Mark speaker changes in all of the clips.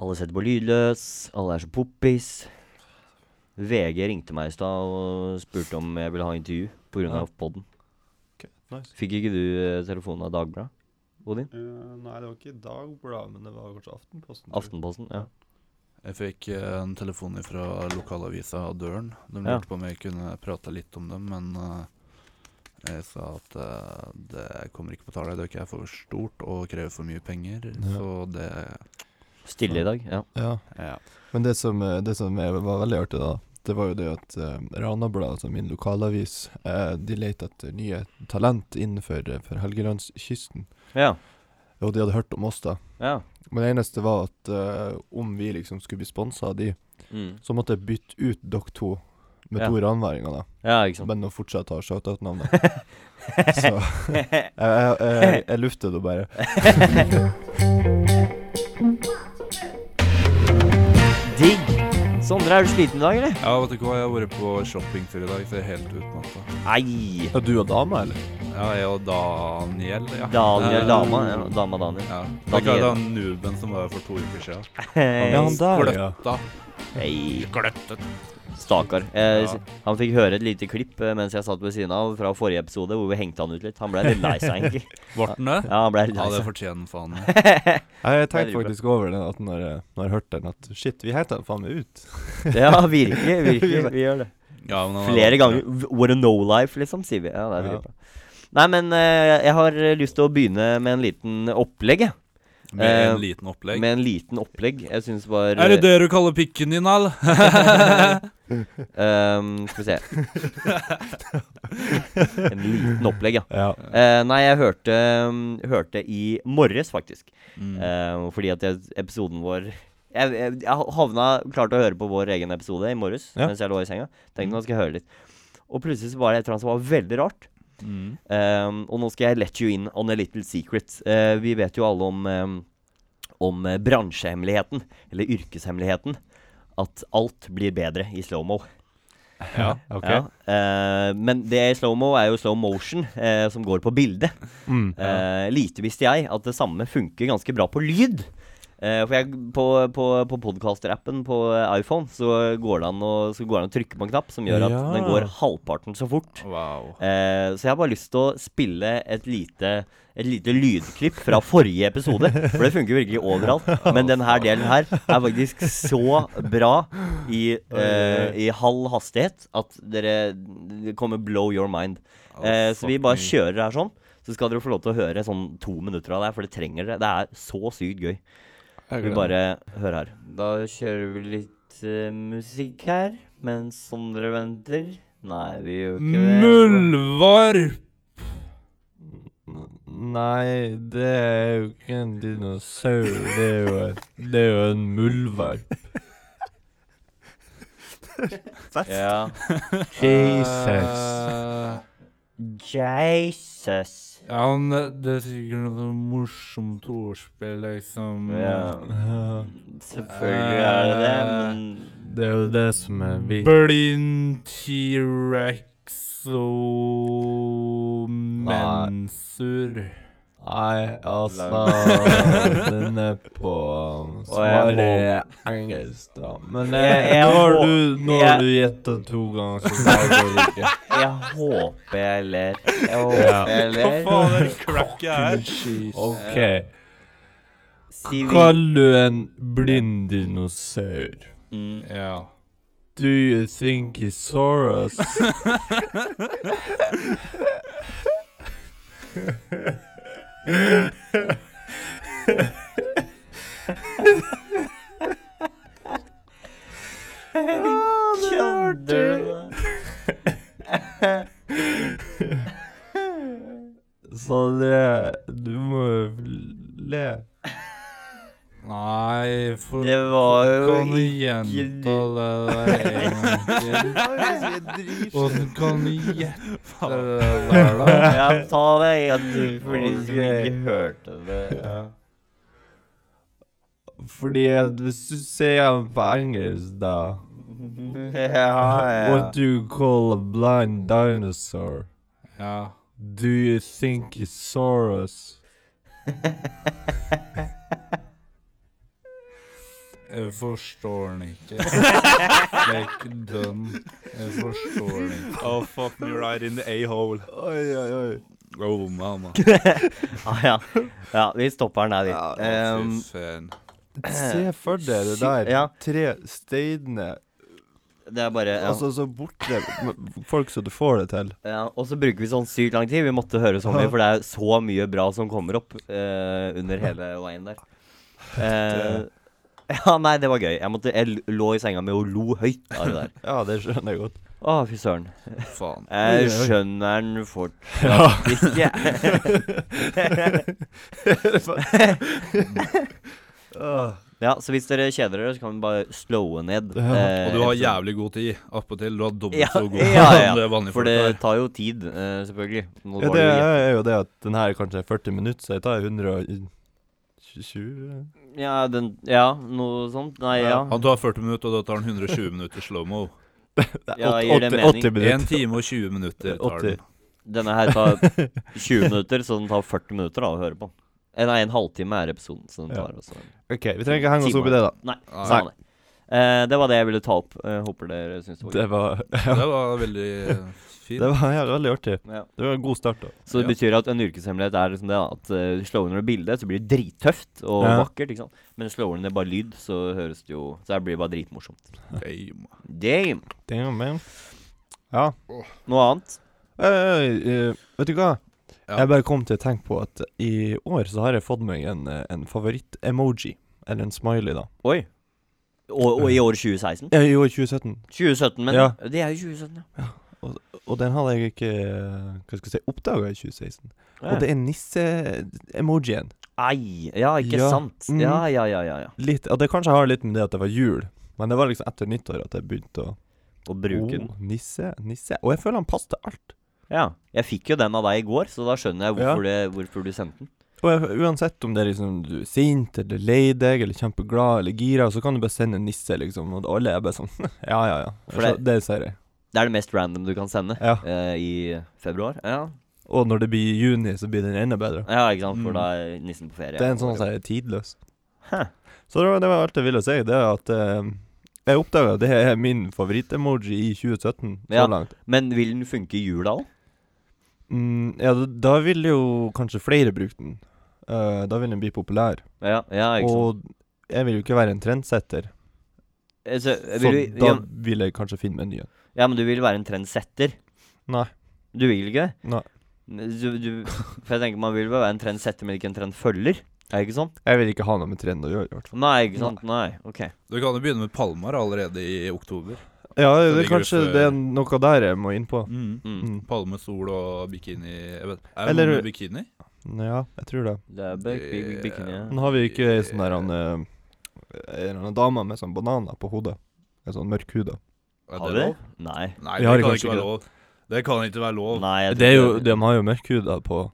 Speaker 1: Alle setter på lydløs, alle er så poppis. VG ringte meg i stad og spurte om jeg ville ha intervju pga.
Speaker 2: Ja.
Speaker 1: av podden.
Speaker 2: Ok, nice.
Speaker 1: Fikk ikke du eh, telefonen av Dagbladet, Odin?
Speaker 2: Eh, nei, det var ikke Dagbladet, men det var kanskje Aftenposten. tror jeg.
Speaker 1: Aftenposten? Ja.
Speaker 3: Jeg fikk eh, en telefon fra lokalavisa Døren. De
Speaker 1: Ja.
Speaker 3: lurte på om jeg kunne prate litt om dem, men eh, jeg sa at eh, det kommer ikke på tale. Det er ikke for stort og krever for mye penger,
Speaker 2: Ja.
Speaker 3: så det
Speaker 1: Stille i dag? Ja.
Speaker 2: Ja,
Speaker 3: ja.
Speaker 2: men det som, eh, det som er, var veldig artig da, det var jo det at eh, Ranabladet, altså min lokalavis, eh, de lette etter nye talent innenfor eh, for Helgelandskysten.
Speaker 1: ja.
Speaker 2: Og de hadde hørt om oss da.
Speaker 1: ja.
Speaker 2: Men det eneste var at eh, om vi liksom skulle bli sponsa av de,
Speaker 1: Mm.
Speaker 2: så måtte jeg bytte ut dere to med
Speaker 1: Ja.
Speaker 2: to ranværinger da.
Speaker 1: Ja, ikke sant.
Speaker 2: Men å fortsatt ha shoutout-navnet. så jeg, jeg, jeg, jeg luftet det bare.
Speaker 1: Digg! Sondre, er du sliten i dag, eller?
Speaker 3: ja, vet du ikke hva, jeg har vært på shoppingtur i dag, så jeg er helt utmatta.
Speaker 1: Nei!
Speaker 2: Ja, du og dama, eller?
Speaker 3: Ja, jeg og Daniel, ja.
Speaker 1: Daniel,
Speaker 3: Eh,
Speaker 1: dama, ja. dama Daniel.
Speaker 3: Ja. Det er ikke
Speaker 1: Daniel. Eh,
Speaker 3: den nuben som var her for to uker siden.
Speaker 1: Hei.
Speaker 2: Ja, han der, ja.
Speaker 3: Gløtta.
Speaker 1: Hei.
Speaker 3: Gløtta.
Speaker 1: Stakkar. Eh,
Speaker 3: Ja.
Speaker 1: s- Han fikk høre et lite klipp eh, mens jeg satt ved siden av fra forrige episode, hvor vi hengte han ut litt. Han ble litt lei seg, egentlig.
Speaker 3: Vart den det?
Speaker 1: Ja, han ble litt
Speaker 3: Ja,
Speaker 1: lei
Speaker 3: det
Speaker 1: seg.
Speaker 3: fortjener faen.
Speaker 2: Nei, Jeg tenkte
Speaker 1: Veldig bra.
Speaker 2: faktisk over det at når jeg, når jeg hørte den, at shit, vi henta den faen meg ut.
Speaker 1: Ja, virkelig. virkelig, Vi gjør det.
Speaker 3: Ja, men han er
Speaker 1: Flere
Speaker 3: vant
Speaker 1: ganger.
Speaker 3: til
Speaker 1: V- What a no life, liksom, sier vi. Ja, det er
Speaker 2: Ja.
Speaker 1: veldig bra. Nei, men eh, jeg har eh, lyst til å begynne med en liten opplegg, jeg.
Speaker 3: det. Med
Speaker 1: Eh,
Speaker 3: en liten opplegg.
Speaker 1: Med en liten opplegg. Jeg syns var eh,
Speaker 3: Er det det du kaller pikken din, Al?
Speaker 1: Ehm, skal vi se. en liten opplegg, ja.
Speaker 2: Ja.
Speaker 1: Eh, nei, jeg hørte, mm, hørte i morges, faktisk.
Speaker 3: Mm.
Speaker 1: Eh, fordi at jeg, episoden vår jeg, jeg, jeg havna klarte å høre på vår egen episode i morges
Speaker 2: Ja. Mm.
Speaker 1: mens jeg lå i senga. Tenkte nå skal jeg høre litt. Og plutselig så var det et eller annet som var veldig rart.
Speaker 3: Mm.
Speaker 1: Ehm, og nå skal jeg let you in on a little secret. Eh, vi vet jo alle om, ehm, om eh, bransjehemmeligheten, eller yrkeshemmeligheten. At alt blir bedre i slow-mo.
Speaker 3: Ja.
Speaker 2: OK.
Speaker 1: Ja, eh, men det i slow-mo er jo slow motion, eh, som går på bilde.
Speaker 2: Mm.
Speaker 1: Eh, lite visste jeg at det samme funker ganske bra på lyd. Eh, for jeg, på på, på podcaster-appen på eh, iPhone så går, det an å, så går det an å trykke på en knapp som gjør at
Speaker 2: Ja.
Speaker 1: den går halvparten så fort.
Speaker 3: Wow.
Speaker 1: Eh, så jeg har bare lyst til å spille et lite, et lite lydklipp fra forrige episode. For det funker virkelig overalt. Men denne delen her er faktisk så bra i, eh, i halv hastighet at dere det kommer blow your mind.
Speaker 2: Oh,
Speaker 1: Eh, så vi bare kjører her sånn. Så skal dere få lov til å høre sånn to minutter av det her, for det trenger dere. Det er så sykt gøy.
Speaker 2: Jeg
Speaker 1: Vi
Speaker 2: gleder meg.
Speaker 1: bare hører her. Da kjører vi litt eh, musikk her, mens Sondre venter. Nei, vi gjør ikke det.
Speaker 3: Muldvarp!
Speaker 2: Nei, det er jo ikke en dinosaur. Det er jo, et- det er jo en muldvarp.
Speaker 1: Ja.
Speaker 2: Jesus.
Speaker 1: Jesus.
Speaker 3: Eh, Ja, men det er sikkert noe sånn morsomt ordspill, liksom.
Speaker 1: Ja.
Speaker 2: Ja,
Speaker 1: Selvfølgelig er det det, men
Speaker 2: Eh, det er jo det som er vi.
Speaker 3: Blind T-rex og mensur.
Speaker 2: Nei, altså Den er på
Speaker 1: jeg
Speaker 2: svaret engelsk, da. Men
Speaker 1: Jeg-
Speaker 2: eh,
Speaker 1: jeg
Speaker 2: nå har
Speaker 1: må-
Speaker 2: du, nå
Speaker 1: jeg-
Speaker 2: har du gjetta to ganger, så da går det ikke.
Speaker 1: jeg håper jeg ler. Jeg håper jeg ler.
Speaker 3: faen er det cracket her?
Speaker 2: OK.
Speaker 1: Sivil.
Speaker 2: Kall du en blind dinosaur?
Speaker 1: Mm.
Speaker 3: Ja.
Speaker 2: Do you think he saw us?
Speaker 1: Kødder du med meg?
Speaker 2: Så det Du må jo le.
Speaker 3: Nei, for
Speaker 1: Det var jo
Speaker 3: Kan du
Speaker 1: ikke
Speaker 3: gjenta det der en gang til? Åssen kan du gjette det der, da?
Speaker 1: Ja, ta det en tur for de som ikke hørte det.
Speaker 2: Fordi at hvis du sier han på engelsk, da
Speaker 1: Ja,
Speaker 2: What do you call a blind dinosaur?
Speaker 3: Ja.
Speaker 2: Do you think he saw us?
Speaker 3: Jeg forstår den ikke. Like dønn. Jeg forstår den ikke.
Speaker 4: Oh, fuck me right in the a-hole.
Speaker 2: Oi, oi, oi.
Speaker 3: Oh, mamma.
Speaker 1: Ah, ja. ja, vi stopper den her, vi.
Speaker 3: Ja,
Speaker 1: Ehm,
Speaker 3: fy faen.
Speaker 2: Se for dere det
Speaker 1: Sy-
Speaker 2: der.
Speaker 1: ja.
Speaker 2: Tre steiner.
Speaker 1: det er bare ja.
Speaker 2: Altså så borte men folk som du får det til.
Speaker 1: Ja, og så bruker vi sånn sykt lang tid. Vi måtte høre så mye, for det er så mye bra som kommer opp eh, under hele veien der. Eh, ja, nei, det var gøy. Jeg, måtte, jeg l- lå i senga mi og lo høyt av det der.
Speaker 2: Ja, det skjønner jeg godt.
Speaker 1: Å, fy søren.
Speaker 3: Faen.
Speaker 1: Jeg
Speaker 2: Oi, oi.
Speaker 1: skjønner den fortsatt ikke. ja, så hvis dere kjeder dere, så kan vi bare slowe ned. eh,
Speaker 3: Og du har
Speaker 1: episoden.
Speaker 3: jævlig god tid. Appåtil. Du har dobbelt
Speaker 1: Ja,
Speaker 3: så god
Speaker 1: ja,
Speaker 3: tid
Speaker 1: ja.
Speaker 3: som det vanlige
Speaker 1: For
Speaker 3: folk har.
Speaker 1: det tar jo tid, eh, selvfølgelig. Nå var
Speaker 2: Ja, det
Speaker 1: det jo-
Speaker 2: er jo det at den her kanskje er 40 minutter, så jeg tar 120
Speaker 1: ja, den, ja, noe sånt. Nei, ja.
Speaker 3: Han tar 40 minutter, og da tar han 120 minutter slow-mo.
Speaker 1: Ja,
Speaker 2: Åt-
Speaker 1: gir det
Speaker 2: åtti-
Speaker 1: mening?
Speaker 2: åtti minutter.
Speaker 3: 1 time og 20 minutter tar
Speaker 2: 80.
Speaker 3: den.
Speaker 1: Denne her tar 20 minutter, så den tar 40 minutter da å høre på. Eh, Nei, en halvtime er episoden. Så den
Speaker 2: Ja.
Speaker 1: tar også
Speaker 2: OK, vi trenger ikke henge oss opp i det, da.
Speaker 1: Nei,
Speaker 3: Nei.
Speaker 1: samme det. Eh, det var det jeg ville ta opp. Eh, håper dere syns det var gøy.
Speaker 2: Det var,
Speaker 3: Det var veldig eh,
Speaker 2: det
Speaker 3: fint.
Speaker 2: var ja, veldig artig.
Speaker 1: Ja.
Speaker 2: Det var en god start, da.
Speaker 1: Så det
Speaker 3: Ja.
Speaker 1: betyr at en yrkeshemmelighet er liksom det da, at uh, slår du ned bildet, så blir det drittøft og
Speaker 2: Ja.
Speaker 1: vakkert. ikke sant? Men slår du ned bare lyd, så høres det jo Så her blir det bare dritmorsomt.
Speaker 3: Damn.
Speaker 1: Damn!
Speaker 2: Damn, man. Ja.
Speaker 1: Noe annet?
Speaker 2: Eh, eh, vet du hva?
Speaker 3: Ja.
Speaker 2: Jeg bare kom til å tenke på at i år så har jeg fått meg en, eh, en favoritt-emoji. Eller en smiley, da.
Speaker 1: Oi. Og, og i år 2016?
Speaker 2: Eh, I år 2017.
Speaker 1: 2017, men
Speaker 2: Ja.
Speaker 1: det er jo 2017, ja.
Speaker 2: Og den hadde jeg ikke eh, Hva skal jeg si oppdaga i 2016.
Speaker 1: Ja.
Speaker 2: Og det er nisse-emojien.
Speaker 1: Ei. Ja, ikke
Speaker 2: Ja.
Speaker 1: sant?
Speaker 2: Mhm.
Speaker 1: Ja, ja, ja, ja. ja.
Speaker 2: Litt, og det kanskje har litt med det at det var jul, men det var liksom etter nyttår at jeg begynte å
Speaker 1: Å bruke den.
Speaker 2: oh, Nisse, nisse. Og jeg føler han passer til alt.
Speaker 1: Ja. Jeg fikk jo den av deg i går, så da skjønner jeg hvorfor, det, hvorfor du sendte den.
Speaker 2: Og jeg, uansett om det er liksom du er sint eller lei deg eller kjempeglad eller gira, så kan du bare sende nisse, liksom, og alle er bare sånn Ja, ja, ja.
Speaker 1: For
Speaker 2: Så
Speaker 1: det-
Speaker 2: det ser jeg.
Speaker 1: Det er det mest random du kan sende
Speaker 2: Ja.
Speaker 1: eh, i februar. Ja.
Speaker 2: Og når det blir juni, så blir den enda bedre.
Speaker 1: ja, ikke sant, for
Speaker 3: Mm.
Speaker 1: da er nissen på ferie.
Speaker 2: Det er en sånn som er tidløs.
Speaker 1: Hæ.
Speaker 2: Så det var, det var alt jeg ville si, det er at eh, jeg oppdaga det er min favorittemoji i 2017 så
Speaker 1: Ja.
Speaker 2: langt.
Speaker 1: Men vil den funke i jula òg?
Speaker 2: Mm, ja, da, da vil jo kanskje flere bruke den. Eh, da vil den bli populær.
Speaker 1: Ja, ja, ikke sant.
Speaker 2: Og jeg vil jo ikke være en trendsetter,
Speaker 1: Eh, Så, eh,
Speaker 2: så
Speaker 1: vil du,
Speaker 2: da
Speaker 1: ja,
Speaker 2: vil jeg kanskje finne menyen.
Speaker 1: ja, men du vil være en trendsetter?
Speaker 2: Nei.
Speaker 1: Du vil ikke?
Speaker 2: Nei.
Speaker 1: Du, du, for jeg tenker man vil vel være en trendsetter, men ikke en trendfølger. Er det ikke sånn?
Speaker 2: Jeg vil ikke ha noe med trend å gjøre, i hvert fall.
Speaker 1: Nei, ikke sant. Nei, ok.
Speaker 3: Du kan jo begynne med Palmar allerede i oktober.
Speaker 2: Ja,
Speaker 3: Så
Speaker 2: det,
Speaker 3: ligger du
Speaker 2: kanskje
Speaker 3: for-
Speaker 2: det er noe der jeg må inn på.
Speaker 3: Mm.
Speaker 1: Mm.
Speaker 2: Mm.
Speaker 3: Palme, sol og bikini jeg vet, Er det
Speaker 2: Eller-
Speaker 3: noe med bikini?
Speaker 2: Mm, Ja, jeg tror det.
Speaker 1: Det er big, big, big, bikini. Ja.
Speaker 2: Nå har vi ikke ei sånn der han eh, En eller annen dame med sånn bananer på hodet. En sånn mørk hud, da.
Speaker 3: Er
Speaker 1: Har
Speaker 3: det
Speaker 1: vi det?
Speaker 3: lov?
Speaker 1: Nei.
Speaker 3: Nei,
Speaker 2: Vi
Speaker 3: det
Speaker 2: har
Speaker 3: kan
Speaker 2: kanskje
Speaker 3: ikke være lov. Det kan ikke være lov.
Speaker 1: Nei jeg tror
Speaker 2: Det er jo,
Speaker 1: ikke
Speaker 2: de har jo mørk hud da på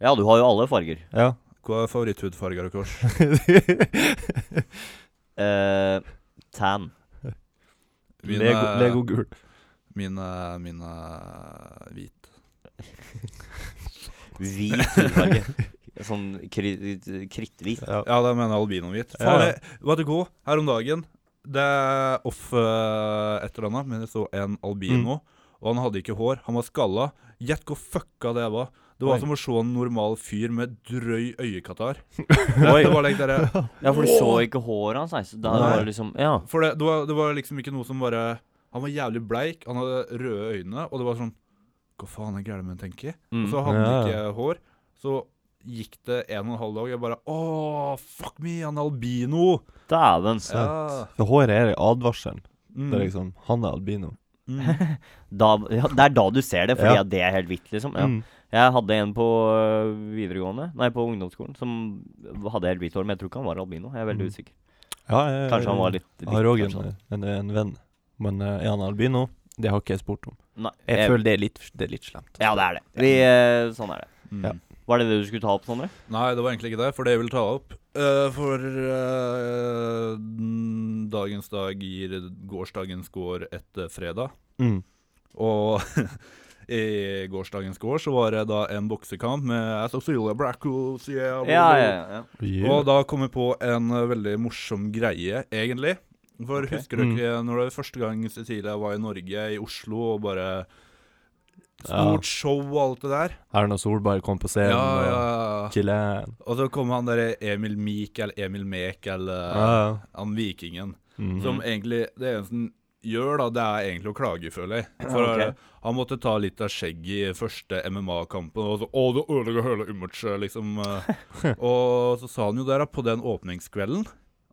Speaker 1: Ja, du har jo alle farger.
Speaker 2: Ja.
Speaker 3: Hva er favoritthudfarger og kors?
Speaker 1: Eh, tan.
Speaker 3: Mine-
Speaker 2: Lego, Lego gul.
Speaker 3: Mine, mine hvit.
Speaker 1: Hvit hudfarge. Sånn kri kritthvit.
Speaker 2: Ja.
Speaker 3: Ja, det mener jeg albinohvit.
Speaker 2: Ja,
Speaker 3: Faen,
Speaker 2: ja.
Speaker 3: jeg- vet du hva? Her om dagen Det er off eh, et eller annet, men jeg så en
Speaker 2: Mm.
Speaker 3: albino. Og han hadde ikke hår, han var skalla. Gjett hvor fucka det var. Det var
Speaker 2: Oi.
Speaker 3: som å se en normal fyr med drøy øyekatarr. Det, det var like der,
Speaker 1: Ja, for du så ikke håret hans, nei. Så da
Speaker 2: Nei.
Speaker 1: var det liksom Ja.
Speaker 3: For det, det, var, det var liksom ikke noe som bare Han var jævlig bleik, han hadde røde øyne, og det var sånn Hva faen er gærent med den, tenker jeg? Og
Speaker 1: Mm.
Speaker 3: så hadde han
Speaker 2: Ja.
Speaker 3: ikke hår. Så gikk det en og en halv dag, jeg bare Å, fuck me, han er albino!
Speaker 1: Dæven.
Speaker 3: Ja.
Speaker 2: For håret er advarselen.
Speaker 3: Mm.
Speaker 2: Det er liksom Han er albino.
Speaker 3: mm.
Speaker 1: Da, ja, det er da du ser det, fordi
Speaker 2: Ja.
Speaker 1: at det er helt hvitt, liksom. Ja.
Speaker 2: Mm.
Speaker 1: Jeg hadde en på øh, videregående, nei, på ungdomsskolen, som hadde helt hvitt hår, men jeg tror ikke han var albino. Jeg er veldig
Speaker 2: Mm.
Speaker 1: usikker.
Speaker 2: Ja, jeg,
Speaker 1: Kanskje han var litt, litt
Speaker 2: Jeg har òg
Speaker 1: kanskje
Speaker 2: en, sånn? en, en venn, men eh, er han albino? Det har ikke jeg spurt om.
Speaker 1: han- Nei,
Speaker 2: Jeg føler det er litt, det er litt slemt.
Speaker 1: Ja, det er det. Vi, øh, sånn er det.
Speaker 3: Mm.
Speaker 2: Ja.
Speaker 1: Var det det du skulle ta opp, Sondre?
Speaker 3: Nei, det var egentlig ikke det, for det jeg ville ta opp eh, For eh, mm, dagens dag gir gårsdagens går etter fredag.
Speaker 2: Mm.
Speaker 3: eh, Og I gårsdagens går så var det da en boksekamp med Cecilia Blackhouse. Yeah,
Speaker 1: Ja, ja, ja.
Speaker 2: Yeah.
Speaker 3: Og da kom jeg på en eh, veldig morsom greie, egentlig. For
Speaker 1: Ok.
Speaker 3: husker du
Speaker 2: Mm.
Speaker 3: ikke når det var første gang Cecilia var i Norge, i Oslo, og bare
Speaker 2: Ja.
Speaker 3: Stort show og alt det der.
Speaker 2: Erna Solberg kom på
Speaker 3: Ja,
Speaker 2: scenen
Speaker 3: ja,
Speaker 2: og
Speaker 3: ja.
Speaker 2: Chilen.
Speaker 3: Og så kom han derre Emil Mik, eller Emil Mek, eller
Speaker 2: Ja, ja.
Speaker 3: han vikingen.
Speaker 1: Mhm.
Speaker 2: Mm.
Speaker 3: Som egentlig Det eneste han gjør, da, det er egentlig å klage, føler jeg. For
Speaker 1: Ok.
Speaker 3: eh, han måtte ta litt av skjegget i første MMA-kampen. Og så 'Å, du ødelegger hele imaget', liksom. eh. og så sa han jo der, da, på den åpningskvelden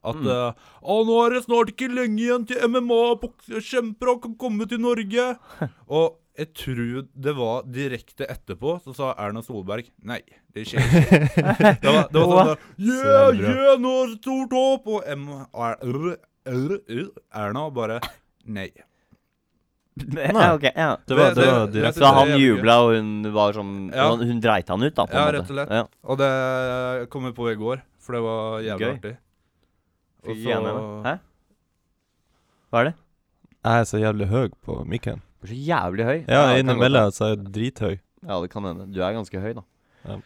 Speaker 3: at
Speaker 1: Mm.
Speaker 3: eh, «Å, nå er det snart ikke lenge igjen til MMA-kjempere kan komme til Norge'. og jeg tror det var direkte etterpå, så sa Erna Solberg nei, det skjer ikke. det var, det var sånn da, Yeah,
Speaker 2: Så bra.
Speaker 3: yeah, nå er det stort håp! Og M R- R- R- R- Erna bare Nei.
Speaker 1: ja, ok, ja.
Speaker 2: Det var,
Speaker 3: Det-
Speaker 2: det var
Speaker 3: det-
Speaker 2: direkte.
Speaker 1: Så han
Speaker 3: det er jævlig gøy.
Speaker 1: jubla, og hun var sånn
Speaker 3: Ja.
Speaker 1: Hun hun dreit han ut, da. På en
Speaker 3: Ja,
Speaker 1: måte.
Speaker 3: rett og slett.
Speaker 1: Ja.
Speaker 3: Og det kom jeg på i går, for det var jævlig
Speaker 1: Gøy.
Speaker 3: artig.
Speaker 1: Fy
Speaker 3: Og så-
Speaker 1: gjerne meg. Hæ? Hva er det?
Speaker 2: Jeg er så jævlig høy på mikken.
Speaker 1: Du er så jævlig høy.
Speaker 2: Ja,
Speaker 1: det kan godt
Speaker 2: innimellom så er jeg
Speaker 1: være.
Speaker 2: drithøy.
Speaker 1: Ja, det kan hende. Du er ganske høy, da.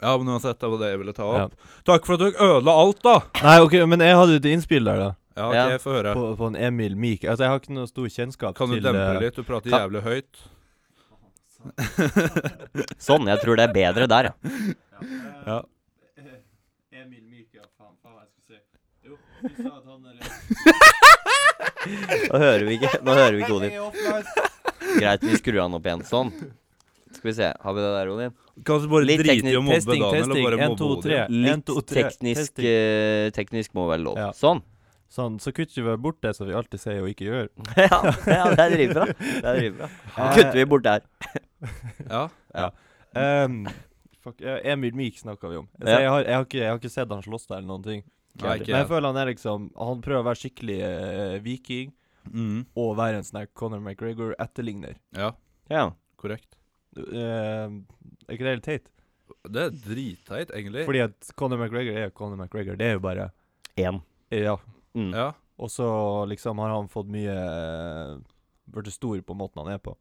Speaker 3: Ja, men uansett, det var det jeg ville ta
Speaker 2: Ja.
Speaker 3: opp. Takk for at dere ødela alt, da!
Speaker 2: Nei, ok, men jeg hadde et innspill der, da.
Speaker 3: Ja, ok,
Speaker 1: Ja.
Speaker 3: jeg får høre.
Speaker 2: På, på en Emil Mik. Altså, jeg har ikke noe stor kjennskap
Speaker 3: Kan du
Speaker 2: til
Speaker 3: dempe
Speaker 2: eh,
Speaker 3: litt? Du prater
Speaker 1: kan-
Speaker 3: jævlig høyt.
Speaker 1: Sånn, jeg tror det er bedre der, ja.
Speaker 3: Ja.
Speaker 2: Emil Myk, ja, faen, faen, hva skal jeg si? Jo, du sa at han er
Speaker 1: Nå hører vi ikke Nå hører vi ikke Odin. Greit, vi skrur han opp igjen. Sånn. Skal vi se. Har vi det der, Odin?
Speaker 3: Kan du bare
Speaker 1: Litt
Speaker 3: drite i
Speaker 1: teknisk-
Speaker 3: å mobbe
Speaker 2: Testing,
Speaker 3: Daniel, og
Speaker 2: testing.
Speaker 3: bare
Speaker 2: En,
Speaker 3: mobbe
Speaker 2: to, tre. En,
Speaker 3: Odin?
Speaker 1: Litt
Speaker 2: to, tre.
Speaker 1: teknisk
Speaker 2: Testing.
Speaker 1: eh, Teknisk må være lov.
Speaker 2: Ja.
Speaker 1: Sånn.
Speaker 2: Sånn, så kutter vi bort det som vi alltid sier og ikke gjør.
Speaker 1: ja, ja, det er dritbra. Det er dritbra. Kutter vi bort der.
Speaker 3: Ja.
Speaker 2: Ehm, fuck, eh, Emil Myk snakka vi om. Altså,
Speaker 1: Ja.
Speaker 2: jeg, har, jeg, har ikke, jeg har ikke sett han slåss der eller noen ting.
Speaker 3: Nei, ikke
Speaker 2: Men jeg
Speaker 3: jeg.
Speaker 2: føler han er liksom Han prøver å være skikkelig eh, viking
Speaker 3: Mm,
Speaker 2: og være en sånn her Conor McGregor-etterligner.
Speaker 3: ja,
Speaker 1: Ja.
Speaker 3: korrekt.
Speaker 2: Ehm, er ikke det helt teit?
Speaker 3: Det er dritteit, egentlig.
Speaker 2: Fordi at Conor McGregor er Conor McGregor. Det er jo bare
Speaker 1: Én.
Speaker 2: Ja.
Speaker 1: Mm.
Speaker 3: Ja.
Speaker 2: Og så liksom har han fått mye eh, Blitt stor på måten han er på.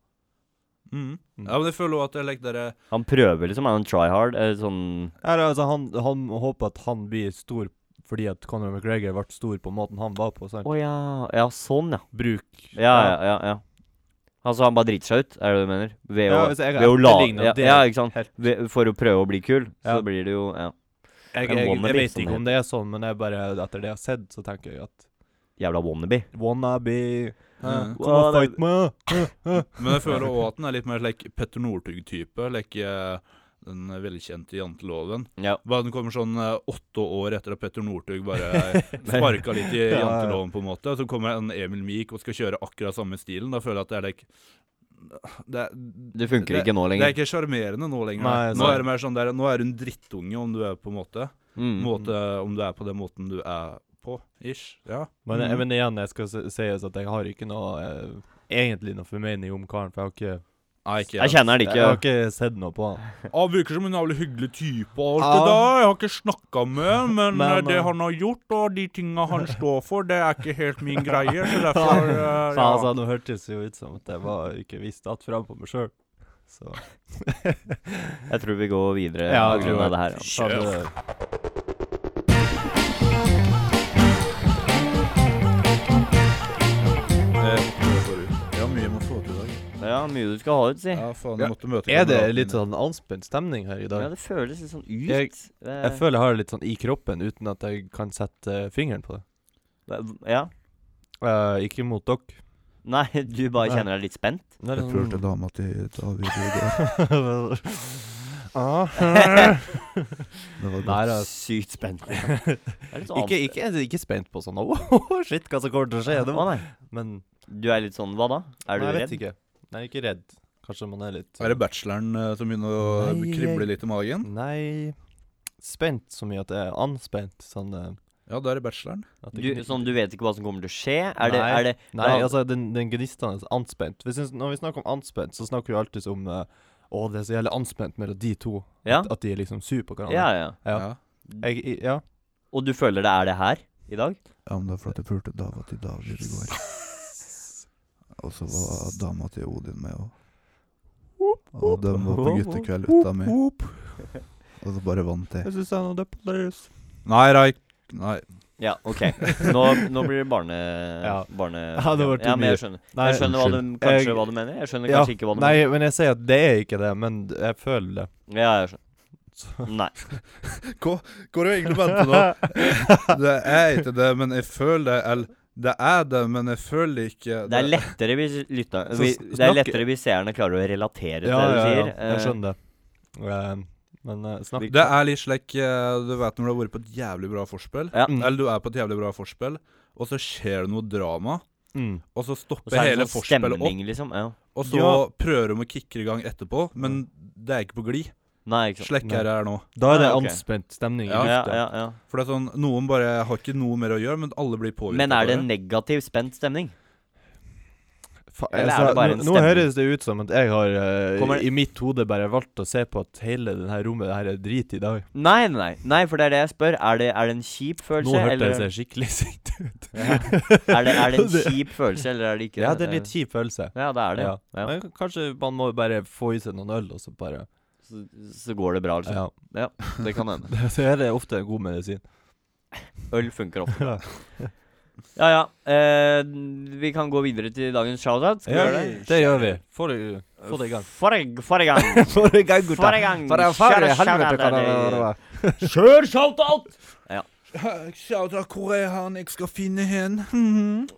Speaker 3: Mm. ja, men jeg føler også at jeg legger dere
Speaker 1: Han prøver liksom, er han try hard? eh, Sånn
Speaker 2: Eller, altså, han, han håper at han blir stor fordi at Conor McGregor ble stor på måten han var på. Sant?
Speaker 1: Å ja. Ja, sånn, ja.
Speaker 2: Bruk
Speaker 1: Ja, ja, ja. ja. Altså, han bare driter seg ut, er det det du mener? Ved å,
Speaker 2: Ja, hvis jeg er
Speaker 1: ved å la
Speaker 2: etterlignet,
Speaker 1: ja,
Speaker 2: det er
Speaker 1: ja, ikke sant.
Speaker 2: helt-
Speaker 1: Ved, for å prøve å bli kul,
Speaker 2: Ja.
Speaker 1: så blir det jo ja,
Speaker 2: Jeg,
Speaker 1: En
Speaker 2: jeg, jeg
Speaker 1: wannabe,
Speaker 2: vet
Speaker 1: som
Speaker 2: ikke
Speaker 1: det
Speaker 2: om det er sånn, men jeg bare, etter det jeg har sett, så tenker jeg at
Speaker 1: jævla wannabe.
Speaker 2: Wannabe
Speaker 3: Mm.
Speaker 2: Come and
Speaker 1: Wannabe.
Speaker 2: fight me!
Speaker 3: Men jeg føler også at den er litt mer like Petter Northug-type. Like eh, den velkjente janteloven.
Speaker 1: Ja.
Speaker 3: Bare den kommer sånn eh, åtte år etter at Petter Northug bare sparka litt i
Speaker 2: Ja, ja.
Speaker 3: janteloven, på en måte. Så kommer en Emil Miek og skal kjøre akkurat samme stilen. Da føler jeg at det er like det,
Speaker 1: Det funker ikke nå
Speaker 3: det er
Speaker 1: lenger.
Speaker 3: ikke sjarmerende nå lenger.
Speaker 2: Nei,
Speaker 3: nå
Speaker 2: nei.
Speaker 3: er det mer sånn der Nå er du en drittunge, om du er på en måte.
Speaker 1: Mm.
Speaker 3: måte om du er på den måten du er på, ish. Ja.
Speaker 2: Men,
Speaker 1: Mm.
Speaker 3: Mhm.
Speaker 2: men igjen, jeg skal se- sies at jeg har ikke noe eh, Egentlig noe formening om karen, for jeg har ikke,
Speaker 3: Nei, ikke
Speaker 1: Jeg kjenner det
Speaker 2: jeg har
Speaker 1: ikke.
Speaker 2: ikke sett noe på han.
Speaker 3: Ja, virker som en jævlig hyggelig type og alt
Speaker 2: Ja.
Speaker 3: det der. Jeg har ikke snakka med han, men,
Speaker 2: Men,
Speaker 3: eh, det
Speaker 2: eh,
Speaker 3: han har gjort og de tinga han står for, det er ikke helt min greie. Så derfor
Speaker 2: Så
Speaker 3: eh, ja.
Speaker 2: altså, nå hørtes det jo ut som at jeg var, ikke visste at fram på meg sjøl. Så
Speaker 1: Jeg tror vi går videre
Speaker 2: Ja,
Speaker 1: på
Speaker 2: jeg
Speaker 1: grunn
Speaker 2: tror
Speaker 1: av det her. Ja.
Speaker 2: sa du det.
Speaker 4: eh,
Speaker 3: Ja, mye må få til i dag.
Speaker 1: Ja, mye du skal ha ut, si.
Speaker 3: Ja, faen, jeg måtte møte
Speaker 2: Er det
Speaker 3: kameraten
Speaker 2: litt
Speaker 3: min.
Speaker 2: sånn anspent stemning her i
Speaker 1: Ja,
Speaker 2: dag?
Speaker 1: det føles litt sånn ut.
Speaker 2: Jeg-
Speaker 1: Det-
Speaker 2: Jeg føler jeg har det litt sånn i kroppen uten at jeg kan sette eh, fingeren på det.
Speaker 1: det- ja.
Speaker 2: Eh, ikke mot dere.
Speaker 1: Nei, du bare
Speaker 2: Nei.
Speaker 1: kjenner deg litt spent?
Speaker 2: Det er
Speaker 3: Jeg prøvde dama til David i går.
Speaker 1: sånn-
Speaker 2: Ah,
Speaker 3: Det var
Speaker 4: altså.
Speaker 2: Nei, da.
Speaker 1: Sykt spent. liksom. Det er litt sånn
Speaker 2: Ikke,
Speaker 1: anspent.
Speaker 2: ikke, ikke spent på sånn Åh, shit, hva som kommer til å skje? Det
Speaker 1: Å
Speaker 2: var,
Speaker 1: nei.
Speaker 2: men
Speaker 1: Du er litt sånn Hva da? Er du
Speaker 2: nei, jeg
Speaker 1: redd?
Speaker 2: vet ikke. Nei, ikke redd. Kanskje man er litt
Speaker 3: Er det bacheloren eh, som begynner å
Speaker 2: Nei, jeg-
Speaker 3: krible litt i magen?
Speaker 2: Nei Spent så mye at jeg er anspent. Sånn eh,
Speaker 3: Ja, da er det bacheloren.
Speaker 2: at
Speaker 1: Du,
Speaker 2: jeg ikke-
Speaker 1: sånn, du vet ikke hva som kommer til å skje? Er det,
Speaker 2: Nei.
Speaker 1: er det
Speaker 2: Nei,
Speaker 1: da-
Speaker 2: altså, den, den gnistende anspent. Vi syns- når vi snakker om anspent, så snakker vi alltid om eh, Å, det er så jævlig anspent mellom de to.
Speaker 1: Ja?
Speaker 2: At, at de er liksom sur på hverandre.
Speaker 1: ja, ja.
Speaker 2: Ja.
Speaker 3: Ja.
Speaker 2: Jeg, i- ja.
Speaker 1: Og du føler det er det her i dag?
Speaker 4: Ja, men det er fordi jeg pulte dama til David i går. Og så var dama til Odin med òg.
Speaker 2: Woo!
Speaker 4: Og de var på guttekveld uten meg. Og så bare vant jeg.
Speaker 3: Nei, Raik. Nei.
Speaker 1: Ja, OK. Nå, nå blir det barne...
Speaker 2: Ja.
Speaker 1: barne
Speaker 2: Ja, det var too
Speaker 1: ja, men jeg
Speaker 2: mye.
Speaker 1: skjønner,
Speaker 2: Nei,
Speaker 1: jeg skjønner hva du,
Speaker 2: unnskyld.
Speaker 1: kanskje
Speaker 2: Jeg-
Speaker 1: hva du mener. Jeg skjønner
Speaker 2: Ja,
Speaker 1: kanskje ikke hva du
Speaker 2: Nei, men jeg sier at det er ikke det, men jeg føler det.
Speaker 1: mener. Ja, jeg skjønner. Nei.
Speaker 3: Hvor er egentlig bandet nå? Det er ikke det, men jeg føler det. Eller det er det, men jeg føler det ikke.
Speaker 1: Det er lettere hvis, lytta,
Speaker 2: Så
Speaker 1: vi,
Speaker 2: sn-
Speaker 1: det er
Speaker 2: snakk-
Speaker 1: lettere hvis seerne klarer å relatere til
Speaker 2: Ja,
Speaker 1: det du
Speaker 2: ja, ja.
Speaker 1: sier.
Speaker 2: Jeg
Speaker 1: Eh,
Speaker 2: skjønner det. Eh, Men eh, snakk
Speaker 1: vi-
Speaker 3: Det er litt slik eh, du vet når du har vært på et jævlig bra forspill,
Speaker 1: Ja.
Speaker 2: Mm.
Speaker 3: eller du er på et jævlig bra forspill, og så skjer det noe drama,
Speaker 2: mm.
Speaker 3: og så
Speaker 1: Og
Speaker 3: stopper
Speaker 1: så er
Speaker 3: hele
Speaker 1: det sånn
Speaker 3: forspillet opp,
Speaker 1: stemning, liksom. Ja.
Speaker 3: og så
Speaker 2: Ja.
Speaker 3: prøver de å kicke i gang etterpå, men
Speaker 1: Mm.
Speaker 3: det er ikke på glid.
Speaker 1: Nei, ikke sant.
Speaker 3: Slekk er det her nå.
Speaker 2: Da er det
Speaker 1: Nei, ok.
Speaker 2: anspent stemning i
Speaker 3: Ja.
Speaker 1: Ja,
Speaker 2: lufta.
Speaker 1: ja, ja.
Speaker 3: For det er sånn, noen bare har ikke noe mer å gjøre, men alle blir påvirket.
Speaker 1: Men er det
Speaker 3: av
Speaker 1: negativ, spent stemning?
Speaker 2: Fa-
Speaker 1: Eller er
Speaker 2: altså,
Speaker 1: det bare en
Speaker 2: nå- Nå
Speaker 1: stemning?
Speaker 2: høres det ut som at jeg har eh,
Speaker 1: Kommer-
Speaker 2: i mitt hode bare valgt å se på at hele det her rommet det her er drit i dag.
Speaker 1: Nei, nei, nei, nei, for det er det jeg spør. Er det, er det en kjip følelse?
Speaker 2: Nå hørte
Speaker 1: eller,
Speaker 2: jeg seg skikkelig sint ut.
Speaker 1: er, det, er det en kjip følelse, eller er det ikke
Speaker 2: Ja, det er litt kjip følelse.
Speaker 1: Ja, det er det.
Speaker 2: Ja.
Speaker 1: Ja.
Speaker 2: Men k- kanskje man må bare få i seg noen øl, og så bare
Speaker 1: Så, så går det bra, liksom.
Speaker 2: Ja.
Speaker 1: Det kan hende.
Speaker 2: Så er det ofte en god medisin.
Speaker 1: Øl funker ofte. bra. Ja ja. Eh, vi kan gå videre til dagens shoutout. Skal vi gjøre det?
Speaker 2: det gjør vi. Få det, få det i gang.
Speaker 1: Forrige forrige gang.
Speaker 2: Få det i gang, gutta.
Speaker 1: Forrige gang.
Speaker 2: For det er farlig, helvete, hva det
Speaker 1: Kjør
Speaker 2: var.
Speaker 1: shoutout!
Speaker 3: det. Shout out hvor er han jeg skal finne hen?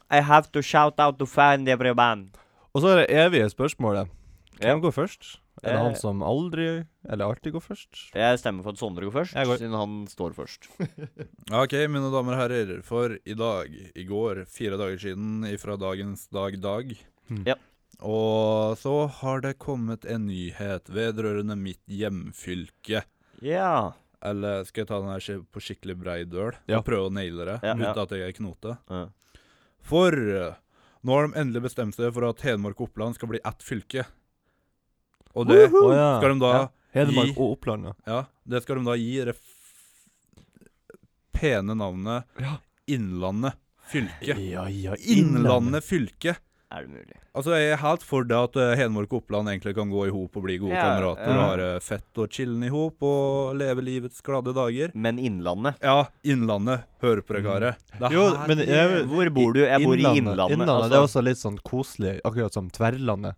Speaker 1: I have to shout out to find every band.
Speaker 2: Og så er det evige spørsmålet.
Speaker 1: Ja.
Speaker 2: Hvem går først? Er det
Speaker 1: Eh.
Speaker 2: han som aldri, eller alltid går først?
Speaker 1: Jeg stemmer for at Sondre går først,
Speaker 2: Jeg går.
Speaker 1: siden han står først.
Speaker 3: Ok, mine damer og herrer, for i dag, i går, fire dager siden ifra dagens dag dag
Speaker 2: Mm.
Speaker 1: Ja.
Speaker 3: Og så har det kommet en nyhet vedrørende mitt hjemfylke.
Speaker 1: Ja.
Speaker 3: Eller skal jeg ta den her skik- på skikkelig brei døl
Speaker 2: Ja.
Speaker 3: og prøve å naile det
Speaker 1: Ja,
Speaker 3: uten
Speaker 1: ja.
Speaker 3: at jeg er knote?
Speaker 1: Ja.
Speaker 3: For eh, nå har de endelig bestemt seg for at Hedmark og Oppland skal bli ett fylke. Og det
Speaker 2: Å, ja.
Speaker 3: skal de da
Speaker 2: Ja. Hedmark
Speaker 3: gi-
Speaker 2: og Oppland, ja.
Speaker 3: Ja, det skal de da gi det f- pene navnet
Speaker 2: Ja.
Speaker 3: Innlandet fylke.
Speaker 2: Ja, ja,
Speaker 3: Innlandet fylke.
Speaker 1: Er det mulig?
Speaker 3: Altså, jeg er helt for det at eh, Hedmark og Oppland egentlig kan gå i hop og bli gode
Speaker 1: Ja,
Speaker 3: kamerater
Speaker 1: ja.
Speaker 3: og ha det fett og chillen i hop og leve livets glade dager.
Speaker 1: Men Innlandet.
Speaker 3: Ja, Innlandet. Hør på det, karet. Det er
Speaker 2: Jo,
Speaker 3: her-
Speaker 2: men jeg,
Speaker 1: Hvor bor du? Jeg bor i Innlandet.
Speaker 2: Det er
Speaker 1: altså.
Speaker 2: også litt sånn koselig, akkurat som Tverlandet.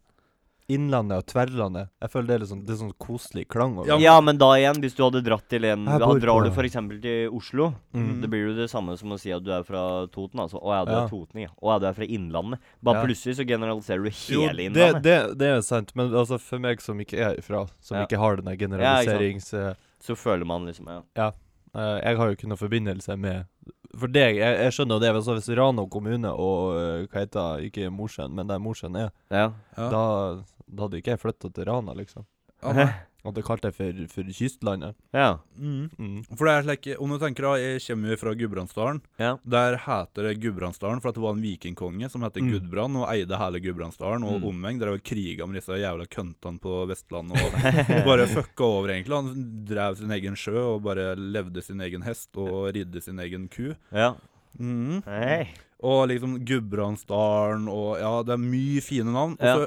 Speaker 2: Innlandet og Tverlandet. Jeg føler det er litt sånn, det er sånn koselig klang over
Speaker 3: Ja,
Speaker 1: Ja, men da igjen, hvis du hadde dratt til en
Speaker 2: Jeg
Speaker 1: da
Speaker 2: bor
Speaker 1: Drar
Speaker 2: på-
Speaker 1: du f.eks. til Oslo,
Speaker 2: Mm.
Speaker 1: det blir jo det samme som å si at du er fra Toten. Altså. Å ja, du
Speaker 2: Ja.
Speaker 1: er totning, ja. Å ja, du er fra Innlandet. Bare
Speaker 2: Ja.
Speaker 1: plutselig så generaliserer du
Speaker 2: Jo,
Speaker 1: hele
Speaker 2: det,
Speaker 1: Innlandet.
Speaker 2: det, det er sant, men altså for meg som ikke er fra, som
Speaker 1: Ja.
Speaker 2: ikke har den der
Speaker 1: Ja, ikke sant.
Speaker 2: generaliserings... eh,
Speaker 1: Så føler man liksom ja.
Speaker 2: eh, jeg har jo ikke noen forbindelse med For deg, jeg, jeg skjønner jo det. Hvis, hvis Rano kommune og eh, hva heter det, ikke Mosjøen, men der Mosjøen er,
Speaker 1: ja.
Speaker 3: Ja.
Speaker 2: da, da hadde ikke jeg flytta til Rana, liksom.
Speaker 3: Ja, nei.
Speaker 2: Hadde kalt det for, for kystlandet.
Speaker 1: Ja.
Speaker 3: Mm.
Speaker 2: Mm.
Speaker 3: For det er slik, om du tenker da, jeg kommer jo fra Gudbrandsdalen.
Speaker 1: Ja.
Speaker 3: Der heter det Gudbrandsdalen, for at det var en vikingkonge som het
Speaker 2: Mm.
Speaker 3: Gudbrand, og eide hele Gudbrandsdalen og
Speaker 1: Mm.
Speaker 3: omheng. Drev og kriga med disse jævla køntene på Vestlandet og bare fucka over, egentlig. Han drev sin egen sjø og bare levde sin egen hest og ridde sin egen ku.
Speaker 1: ja.
Speaker 3: Mm.
Speaker 1: Hei.
Speaker 3: Og liksom Gudbrandsdalen og Ja, det er mye fine navn. Og så
Speaker 1: Ja.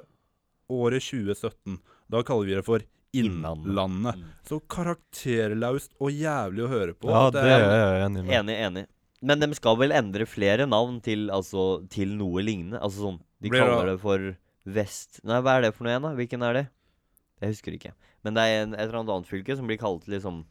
Speaker 3: året 2017. Da kaller vi det for
Speaker 1: Innlandet.
Speaker 3: Innlandet. Så karakterlaust og jævlig å høre på.
Speaker 2: Ja,
Speaker 3: At
Speaker 2: det er jeg enig med.
Speaker 1: Enig, enig. Men de skal vel endre flere navn til, altså, til noe lignende? Altså sånn De
Speaker 3: Blir det-
Speaker 1: kaller det for Vest... Nei, hva er det for noe igjen, da? Hvilken er det? Jeg husker ikke. Men det er en, et eller annet annet fylke som blir kalt liksom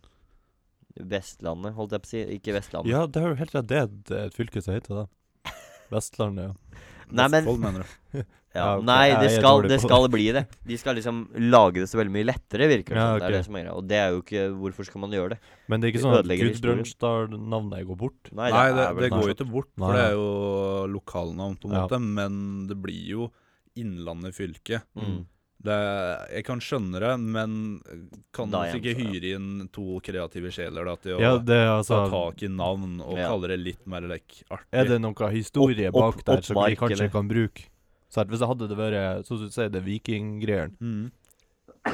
Speaker 1: Vestlandet, holdt jeg på å si. Ikke Vestlandet.
Speaker 2: Ja, det er jo helt rett. Det er et- det er et fylke som heter det. Vestlandet, ja.
Speaker 1: Nei, men
Speaker 3: Vestfold, mener du.
Speaker 1: ja,
Speaker 2: Ja, ok.
Speaker 1: Nei,
Speaker 2: Ja,
Speaker 1: det
Speaker 2: jeg
Speaker 1: skal,
Speaker 2: tror det
Speaker 1: det
Speaker 2: på
Speaker 1: skal bli det. De skal liksom lage det så veldig mye lettere, virker det
Speaker 2: Ja,
Speaker 1: som. Det
Speaker 2: ok.
Speaker 1: er det som er greia. Og det er jo ikke Hvorfor skal man gjøre det?
Speaker 2: Men det er ikke
Speaker 1: Vi
Speaker 2: sånn at
Speaker 1: ødelegger historien.
Speaker 2: Gudbrandsdal-navnet går bort.
Speaker 1: Nei,
Speaker 3: Nei, det,
Speaker 1: er vel
Speaker 3: det
Speaker 1: kanskje-
Speaker 3: går jo ikke bort,
Speaker 2: Nei.
Speaker 3: for det er jo lokalnavn på en
Speaker 2: Ja.
Speaker 3: måte, men det blir jo Innlandet fylke.
Speaker 1: mm.
Speaker 3: Det, jeg kan skjønne det, men kan
Speaker 1: Da
Speaker 3: man
Speaker 1: igjen,
Speaker 3: ikke
Speaker 1: så, ja.
Speaker 3: hyre inn to kreative sjeler da, til å
Speaker 2: Ja, det er
Speaker 3: ta
Speaker 2: altså
Speaker 3: tak i navn og
Speaker 1: Ja.
Speaker 3: kalle det litt mer like, artig?
Speaker 2: Er det noe historie
Speaker 1: Opp- opp-
Speaker 2: bak der som vi
Speaker 1: oppmark, eller?
Speaker 2: kanskje kan bruke? Så at hvis det hadde det vært sånn som du sier, det vikinggreiene
Speaker 3: Mm.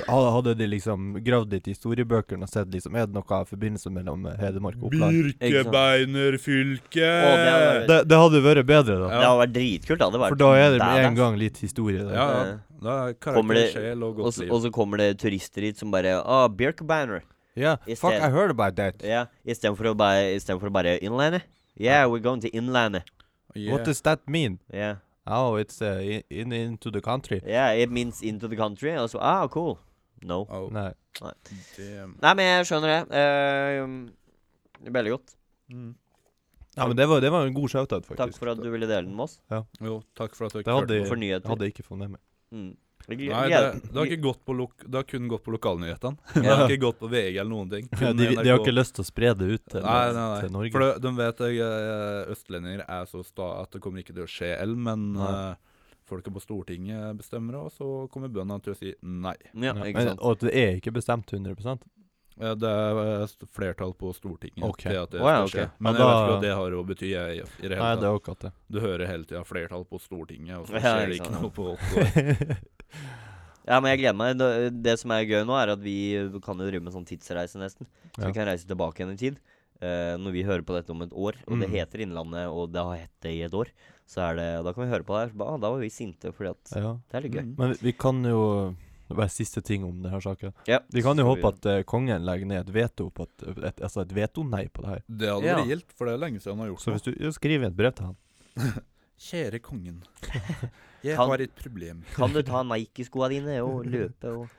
Speaker 2: ha- hadde de liksom gravd litt i historiebøkene og sett liksom, er det noe forbindelse mellom eh, Hedmark og Oppland?
Speaker 3: Birkebeinerfylke.
Speaker 1: Å, det er-
Speaker 2: Det, det hadde vært bedre, da.
Speaker 1: Det hadde vært dritkult. Det hadde vært
Speaker 2: For da er det med en
Speaker 1: badass.
Speaker 2: gang litt historie der.
Speaker 3: Ja, ja. Da er
Speaker 1: Kommer
Speaker 3: karakter,
Speaker 1: det-
Speaker 3: sjel og
Speaker 1: Og
Speaker 3: godt
Speaker 1: så,
Speaker 3: liv.
Speaker 1: og så kommer det turister hit som bare Ah, Birkebeiner.
Speaker 2: Yeah,
Speaker 1: Is
Speaker 2: fuck,
Speaker 1: that-
Speaker 2: I heard about that.
Speaker 1: Ja, Istedenfor å bare Istedenfor bare Innlandet. Yeah, we're going to Innlandet.
Speaker 3: eh,
Speaker 2: What does that mean?
Speaker 1: Yeah.
Speaker 2: Oh, it's uh, in, in, into the country.
Speaker 1: yeah, it means into the country. Og så Ah, cool. No.
Speaker 3: Oh,
Speaker 2: Nei.
Speaker 3: damn.
Speaker 1: Nei, men jeg skjønner det. Eh, det er veldig godt.
Speaker 3: mm.
Speaker 2: Ja, men det var, det var en god shoutout, faktisk.
Speaker 1: Takk for at du ville dele den med oss.
Speaker 3: Jo, takk for at du
Speaker 2: Det hadde,
Speaker 3: hørte på.
Speaker 1: For
Speaker 2: jeg
Speaker 1: nyheter.
Speaker 2: hadde ikke fått med meg.
Speaker 1: Mm. Jeg gle-
Speaker 3: Nei, det,
Speaker 1: gleder-
Speaker 3: det, har ikke gått på lok det har kun gått på lokalnyhetene. Det
Speaker 1: Ja.
Speaker 3: har ikke gått på VG eller noen ting.
Speaker 2: Ja,
Speaker 3: Kun
Speaker 2: de, de har
Speaker 3: NRK.
Speaker 2: ikke lyst til å spre det ut til,
Speaker 3: Nei, nei, nei.
Speaker 2: til Norge.
Speaker 3: For de, de vet jeg, eh, østlendinger er så sta at det kommer ikke til å skje L, men
Speaker 2: Nei.
Speaker 3: eh, folket på Stortinget bestemmer det, og så kommer bøndene til å si nei.
Speaker 1: Ja,
Speaker 2: Ja,
Speaker 1: ikke
Speaker 2: men,
Speaker 1: sant.
Speaker 2: og at det er ikke bestemt 100
Speaker 3: Eh, Det er eh, st- flertall på Stortinget
Speaker 2: Ok.
Speaker 3: til at det
Speaker 1: Å ja,
Speaker 3: skal skje.
Speaker 1: ok.
Speaker 3: Men
Speaker 2: Ja,
Speaker 3: jeg vet
Speaker 2: da-
Speaker 3: ikke hva det har å bety jeg, i
Speaker 2: Nei,
Speaker 3: det
Speaker 2: det
Speaker 3: hele tatt.
Speaker 2: er også at det.
Speaker 3: Du hører hele tida 'flertall på Stortinget', og så
Speaker 1: Ja,
Speaker 3: skjer det
Speaker 1: ikke
Speaker 3: ikke
Speaker 1: sant.
Speaker 3: noe på åtte år.
Speaker 1: Ja, men jeg gleder meg. Det, det som er gøy nå, er at vi kan jo drive med sånn tidsreise, nesten. Så
Speaker 2: Ja.
Speaker 1: vi kan reise tilbake igjen i tid. Eh, når vi hører på dette om et år, og det
Speaker 2: Mm.
Speaker 1: heter Innlandet, og det har hett det i et år, så er det Da kan vi høre på det her. så bare, Ah, da var vi sinte, fordi at
Speaker 2: Ja.
Speaker 1: Det er litt gøy.
Speaker 3: Mm.
Speaker 2: Men vi, vi kan jo Det er bare siste ting om denne saken.
Speaker 1: Ja.
Speaker 2: Vi kan jo
Speaker 3: Skal vi-
Speaker 2: håpe at eh, kongen legger ned et veto på at, et, Altså et veto-nei på det her.
Speaker 3: Det hadde
Speaker 1: Ja.
Speaker 3: vært gildt, for det er lenge siden han har gjort
Speaker 2: Så hvis du jo, skriver et brev til han
Speaker 3: Kjære kongen. Jeg
Speaker 1: Kan-
Speaker 3: har et problem.
Speaker 1: Kan du ta Nike-skoa dine og løpe og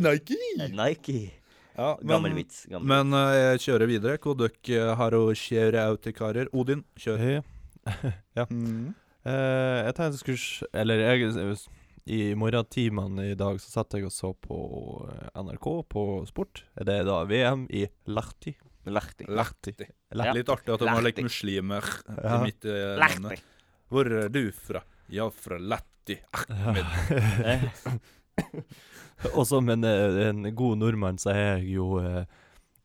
Speaker 3: Nike!
Speaker 1: Eh, Nike!
Speaker 3: Ja,
Speaker 1: Gammel
Speaker 3: men,
Speaker 1: vits. Gammel.
Speaker 3: men eh, jeg kjører videre. Hvor dere eh, har å kjøre out til karer. Odin, kjør.
Speaker 2: Hei. ja.
Speaker 1: Mm.
Speaker 2: Eh, jeg tenkte jeg skulle sj- Eller jeg, s- i morgentimene i dag så satt jeg og så på eh, NRK på sport. Det er da VM i Lahti.
Speaker 1: Lahti.
Speaker 3: Lahti.
Speaker 2: Lahti.
Speaker 3: Litt artig at de har lekt
Speaker 1: Lahti.
Speaker 3: muslimer i
Speaker 2: Ja.
Speaker 3: mitt eh,
Speaker 1: Lahti.
Speaker 3: landet. Hvor er du fra? Ja, fra Latti.
Speaker 1: Eh,
Speaker 2: Og som en, eh, en god nordmann så er jeg jo eh,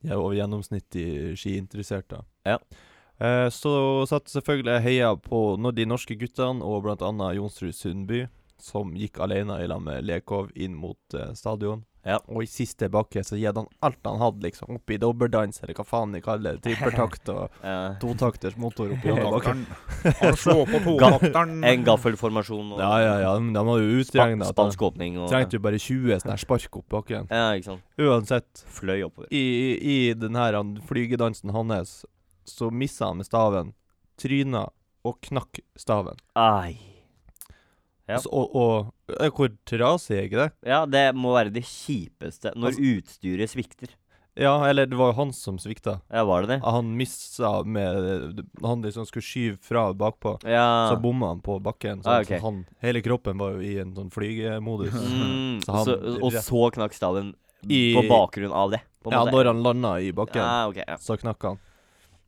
Speaker 2: Jeg er over gjennomsnittlig skiinteressert, da.
Speaker 1: Ja.
Speaker 2: Eh, Så satt selvfølgelig jeg heia på no- de norske guttene og blant annet Jonsrud Sundby, som gikk alene i lag med Lekov inn mot eh, stadion.
Speaker 1: Ja.
Speaker 2: Og i siste bakke så gir han alt han hadde, liksom. Oppi dobbeldans, eller hva faen de kaller det. Trippertakt og
Speaker 1: eh,
Speaker 2: totakters motor oppi hele bakken.
Speaker 3: Totakteren. Han slår på totakteren.
Speaker 1: en gaffelformasjon og
Speaker 2: Ja, ja, ja. men De har
Speaker 1: span
Speaker 2: jo utregna at han
Speaker 1: spansk åpning og
Speaker 2: trengte jo bare 20 sånne her spark opp bakken.
Speaker 1: Ja, ikke sant.
Speaker 2: Uansett.
Speaker 1: Fløy oppover.
Speaker 2: i, i den her han- flygedansen hans, så missa han med staven, tryna og knakk staven.
Speaker 1: Ai. Ja.
Speaker 2: Så, og, og eh, Hvor trasig er ikke det?
Speaker 1: Ja, det må være det kjipeste når
Speaker 2: Altså-
Speaker 1: utstyret svikter.
Speaker 2: Ja, eller det var jo han som svikta.
Speaker 1: Ja, var det det?
Speaker 2: Han missa med Han liksom skulle skyve fra bakpå,
Speaker 1: Ja.
Speaker 2: så bomma han på bakken.
Speaker 1: Ah,
Speaker 2: sånn,
Speaker 1: ok.
Speaker 2: Så han, hele kroppen var jo i en sånn flygemodus.
Speaker 1: Mm,
Speaker 2: Så han-
Speaker 1: så, og så knakk staven
Speaker 2: I-
Speaker 1: på bakgrunn av det. På en
Speaker 2: Ja,
Speaker 1: måte.
Speaker 2: når han landa i bakken,
Speaker 1: Ah, ok, ja.
Speaker 2: så knakk han.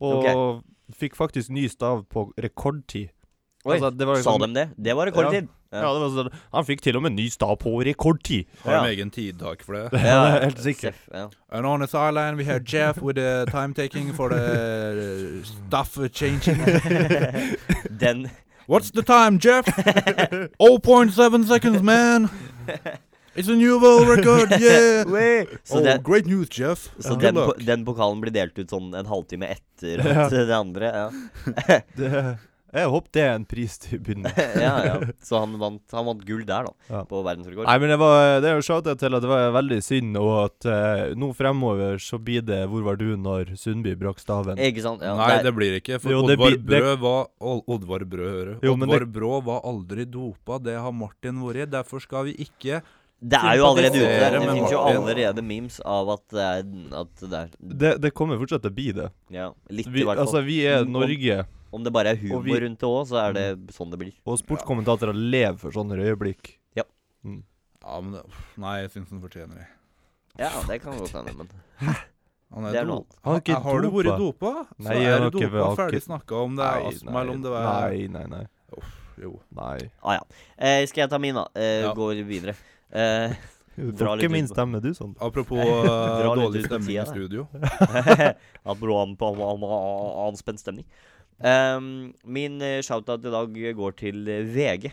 Speaker 2: Og fikk faktisk ny stav på rekordtid.
Speaker 1: Oi,
Speaker 2: Altså, det var
Speaker 1: Sa
Speaker 2: liksom-
Speaker 1: dem det? Det var rekordtid.
Speaker 2: Ja, det var sånn, Han fikk til og med ny stav på rekordtid.
Speaker 3: Har de egen tidtak for det?
Speaker 2: Ja, det er helt sikkert.
Speaker 1: Seff, ja.
Speaker 3: And on this island we have Jeff with the time taking for the uh, stuff changing.
Speaker 1: Den
Speaker 3: What's the time, Jeff? 0.7 seconds, man. It's a new world record, yeah.
Speaker 1: Så,
Speaker 3: oh,
Speaker 1: den,
Speaker 3: great news, Jeff.
Speaker 1: så
Speaker 3: Good
Speaker 1: den,
Speaker 3: luck.
Speaker 1: po- den pokalen blir delt ut sånn en halvtime etter at det andre. Ja.
Speaker 2: Det, jeg håper det er en pris til byen.
Speaker 1: ja, ja. Så han vant, han vant gull der, da.
Speaker 2: Ja.
Speaker 1: På verdensrekord.
Speaker 2: Nei, men det, var, det er jo shoutout til at det var veldig synd, og at eh, nå fremover så blir det 'Hvor var du?' når Sundby brakk staven.
Speaker 1: Ikke sant? Ja,
Speaker 3: Nei,
Speaker 1: der-
Speaker 3: det blir ikke. For
Speaker 2: oh, Jo, det
Speaker 3: Oddvar
Speaker 2: blir- det-
Speaker 3: Brø var Ol- Oddvar Brø, hører.
Speaker 2: Jo, men det-
Speaker 3: Oddvar Brå var aldri dopa. Det har Martin vært. Derfor skal vi ikke
Speaker 1: det er jo allerede ute der.
Speaker 3: sympatisere
Speaker 1: Det
Speaker 3: med
Speaker 1: finnes jo
Speaker 3: Martin.
Speaker 1: allerede memes av at det er, at det er
Speaker 2: Det, det kommer fortsatt til å bli det.
Speaker 1: Ja, litt
Speaker 2: Vi,
Speaker 1: i hvert fall.
Speaker 2: altså, vi er
Speaker 1: Om-
Speaker 2: Norge,
Speaker 1: Om det bare er humor
Speaker 2: Og vi-
Speaker 1: rundt det òg, så er det sånn det blir.
Speaker 2: og sportskommentatorer lever for sånne øyeblikk.
Speaker 3: ja, men, det- uff, Nei, jeg syns han fortjener det.
Speaker 1: Ja, det kan godt hende, men
Speaker 3: Han
Speaker 1: det er noe
Speaker 3: dopa.
Speaker 1: annet.
Speaker 2: Han har ikke
Speaker 3: Har du vært
Speaker 2: dopa.
Speaker 3: dopa? Så
Speaker 2: Nei, jeg
Speaker 3: er
Speaker 2: har
Speaker 3: du
Speaker 2: ikke-
Speaker 3: dopa.
Speaker 2: jeg har
Speaker 3: Ferdig
Speaker 2: ikke-
Speaker 3: snakka om det er astma, eller om det var
Speaker 2: nei, nei, nei.
Speaker 3: Jo.
Speaker 2: nei.
Speaker 1: Ah, ja. eh, skal jeg ta min, da? Eh,
Speaker 3: Ja.
Speaker 1: Går videre. Eh,
Speaker 2: Du
Speaker 1: Dra
Speaker 2: får
Speaker 1: litt
Speaker 2: ikke min
Speaker 1: ut på-
Speaker 2: stemme, du, sånn.
Speaker 3: Apropos
Speaker 1: Dra
Speaker 3: eh,
Speaker 1: litt
Speaker 3: dårlig
Speaker 1: ut på
Speaker 3: stemning
Speaker 1: tida,
Speaker 3: i
Speaker 1: da.
Speaker 3: studio.
Speaker 2: Eh,
Speaker 1: Apropos an- an- an- anspent stemning. Ehm, min eh, shoutout i dag går til eh, VG.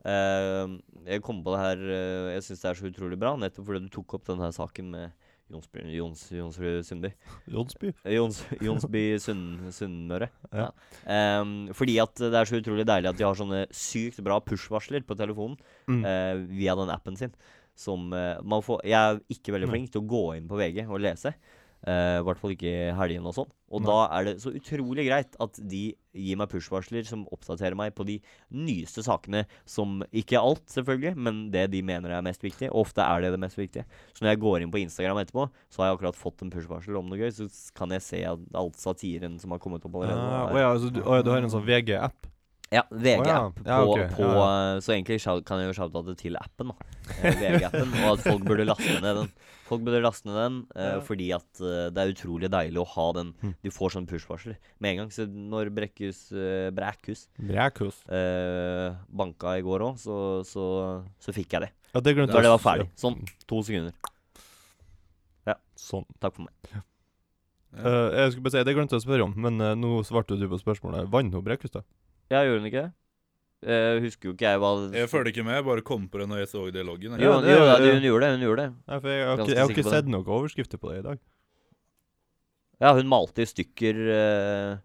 Speaker 1: Eh, jeg kom på det her eh, Jeg syns det er så utrolig bra, nettopp fordi du tok opp denne saken med Jonsby, Jons, Jonsrud Sundby.
Speaker 2: Jonsby.
Speaker 1: Eh, Jons, Jonsby Sunn, Sunnmøre.
Speaker 2: Ja.
Speaker 1: Ehm, fordi at det er så utrolig deilig at de har sånne sykt bra push-varsler på telefonen
Speaker 2: Mm.
Speaker 1: eh, via den appen sin. Som eh, man får Jeg er ikke veldig
Speaker 2: Nei.
Speaker 1: flink til å gå inn på VG og lese. eh, I hvert fall ikke i helgene og sånn. Og
Speaker 2: Nei.
Speaker 1: da er det så utrolig greit at de gir meg push-varsler som oppdaterer meg på de nyeste sakene som Ikke alt, selvfølgelig, men det de mener er mest viktig. Og ofte er det det mest viktige. Så når jeg går inn på Instagram etterpå, så har jeg akkurat fått en push-varsel om noe gøy, så s- kan jeg se at alt satiren som har kommet opp allerede.
Speaker 2: Ah,
Speaker 1: er-
Speaker 2: Å ja, altså, du, å ja, du har en sånn VG-app?
Speaker 1: ja, VG-app.
Speaker 2: Å ja.
Speaker 1: På,
Speaker 2: Ja, ok.
Speaker 1: på, eh,
Speaker 2: Ja,
Speaker 1: Så egentlig shout- kan jeg jo shoutoutet til appen, da. Eh, VG-appen. Og at folk burde laste ned den. Folk burde laste ned den eh,
Speaker 2: Ja.
Speaker 1: fordi at eh, det er utrolig deilig å ha den.
Speaker 2: Mm.
Speaker 1: Du får sånn push-varsler med en gang. Så når Brekkhus eh, Brækhus
Speaker 2: Brækhus.
Speaker 1: eh, banka i går òg, så, så, så fikk jeg det.
Speaker 2: Ja, det glemte
Speaker 1: Da det var
Speaker 2: jeg.
Speaker 1: ferdig. Sånn. To sekunder.
Speaker 2: Sånn.
Speaker 1: Takk for meg.
Speaker 2: Eh, jeg skulle bare si, Det glemte jeg å spørre om, men eh, nå svarte du på spørsmålet. Vant hun Brækhus, da?
Speaker 1: Ja, gjorde hun ikke det? Eh, husker jo ikke jeg hva
Speaker 3: Jeg følger ikke med, jeg bare kom på det når jeg så det i loggen. jeg.
Speaker 1: Jo,
Speaker 2: Ja,
Speaker 1: jo, ja,
Speaker 2: ja, ja.
Speaker 1: hun gjorde det. Hun gjorde det.
Speaker 2: Nei, for Jeg har
Speaker 1: Ganske
Speaker 2: ikke, jeg har
Speaker 1: sikker på
Speaker 2: ikke
Speaker 1: det.
Speaker 2: sett noen overskrifter på det i dag.
Speaker 1: Ja, hun malte i stykker eh,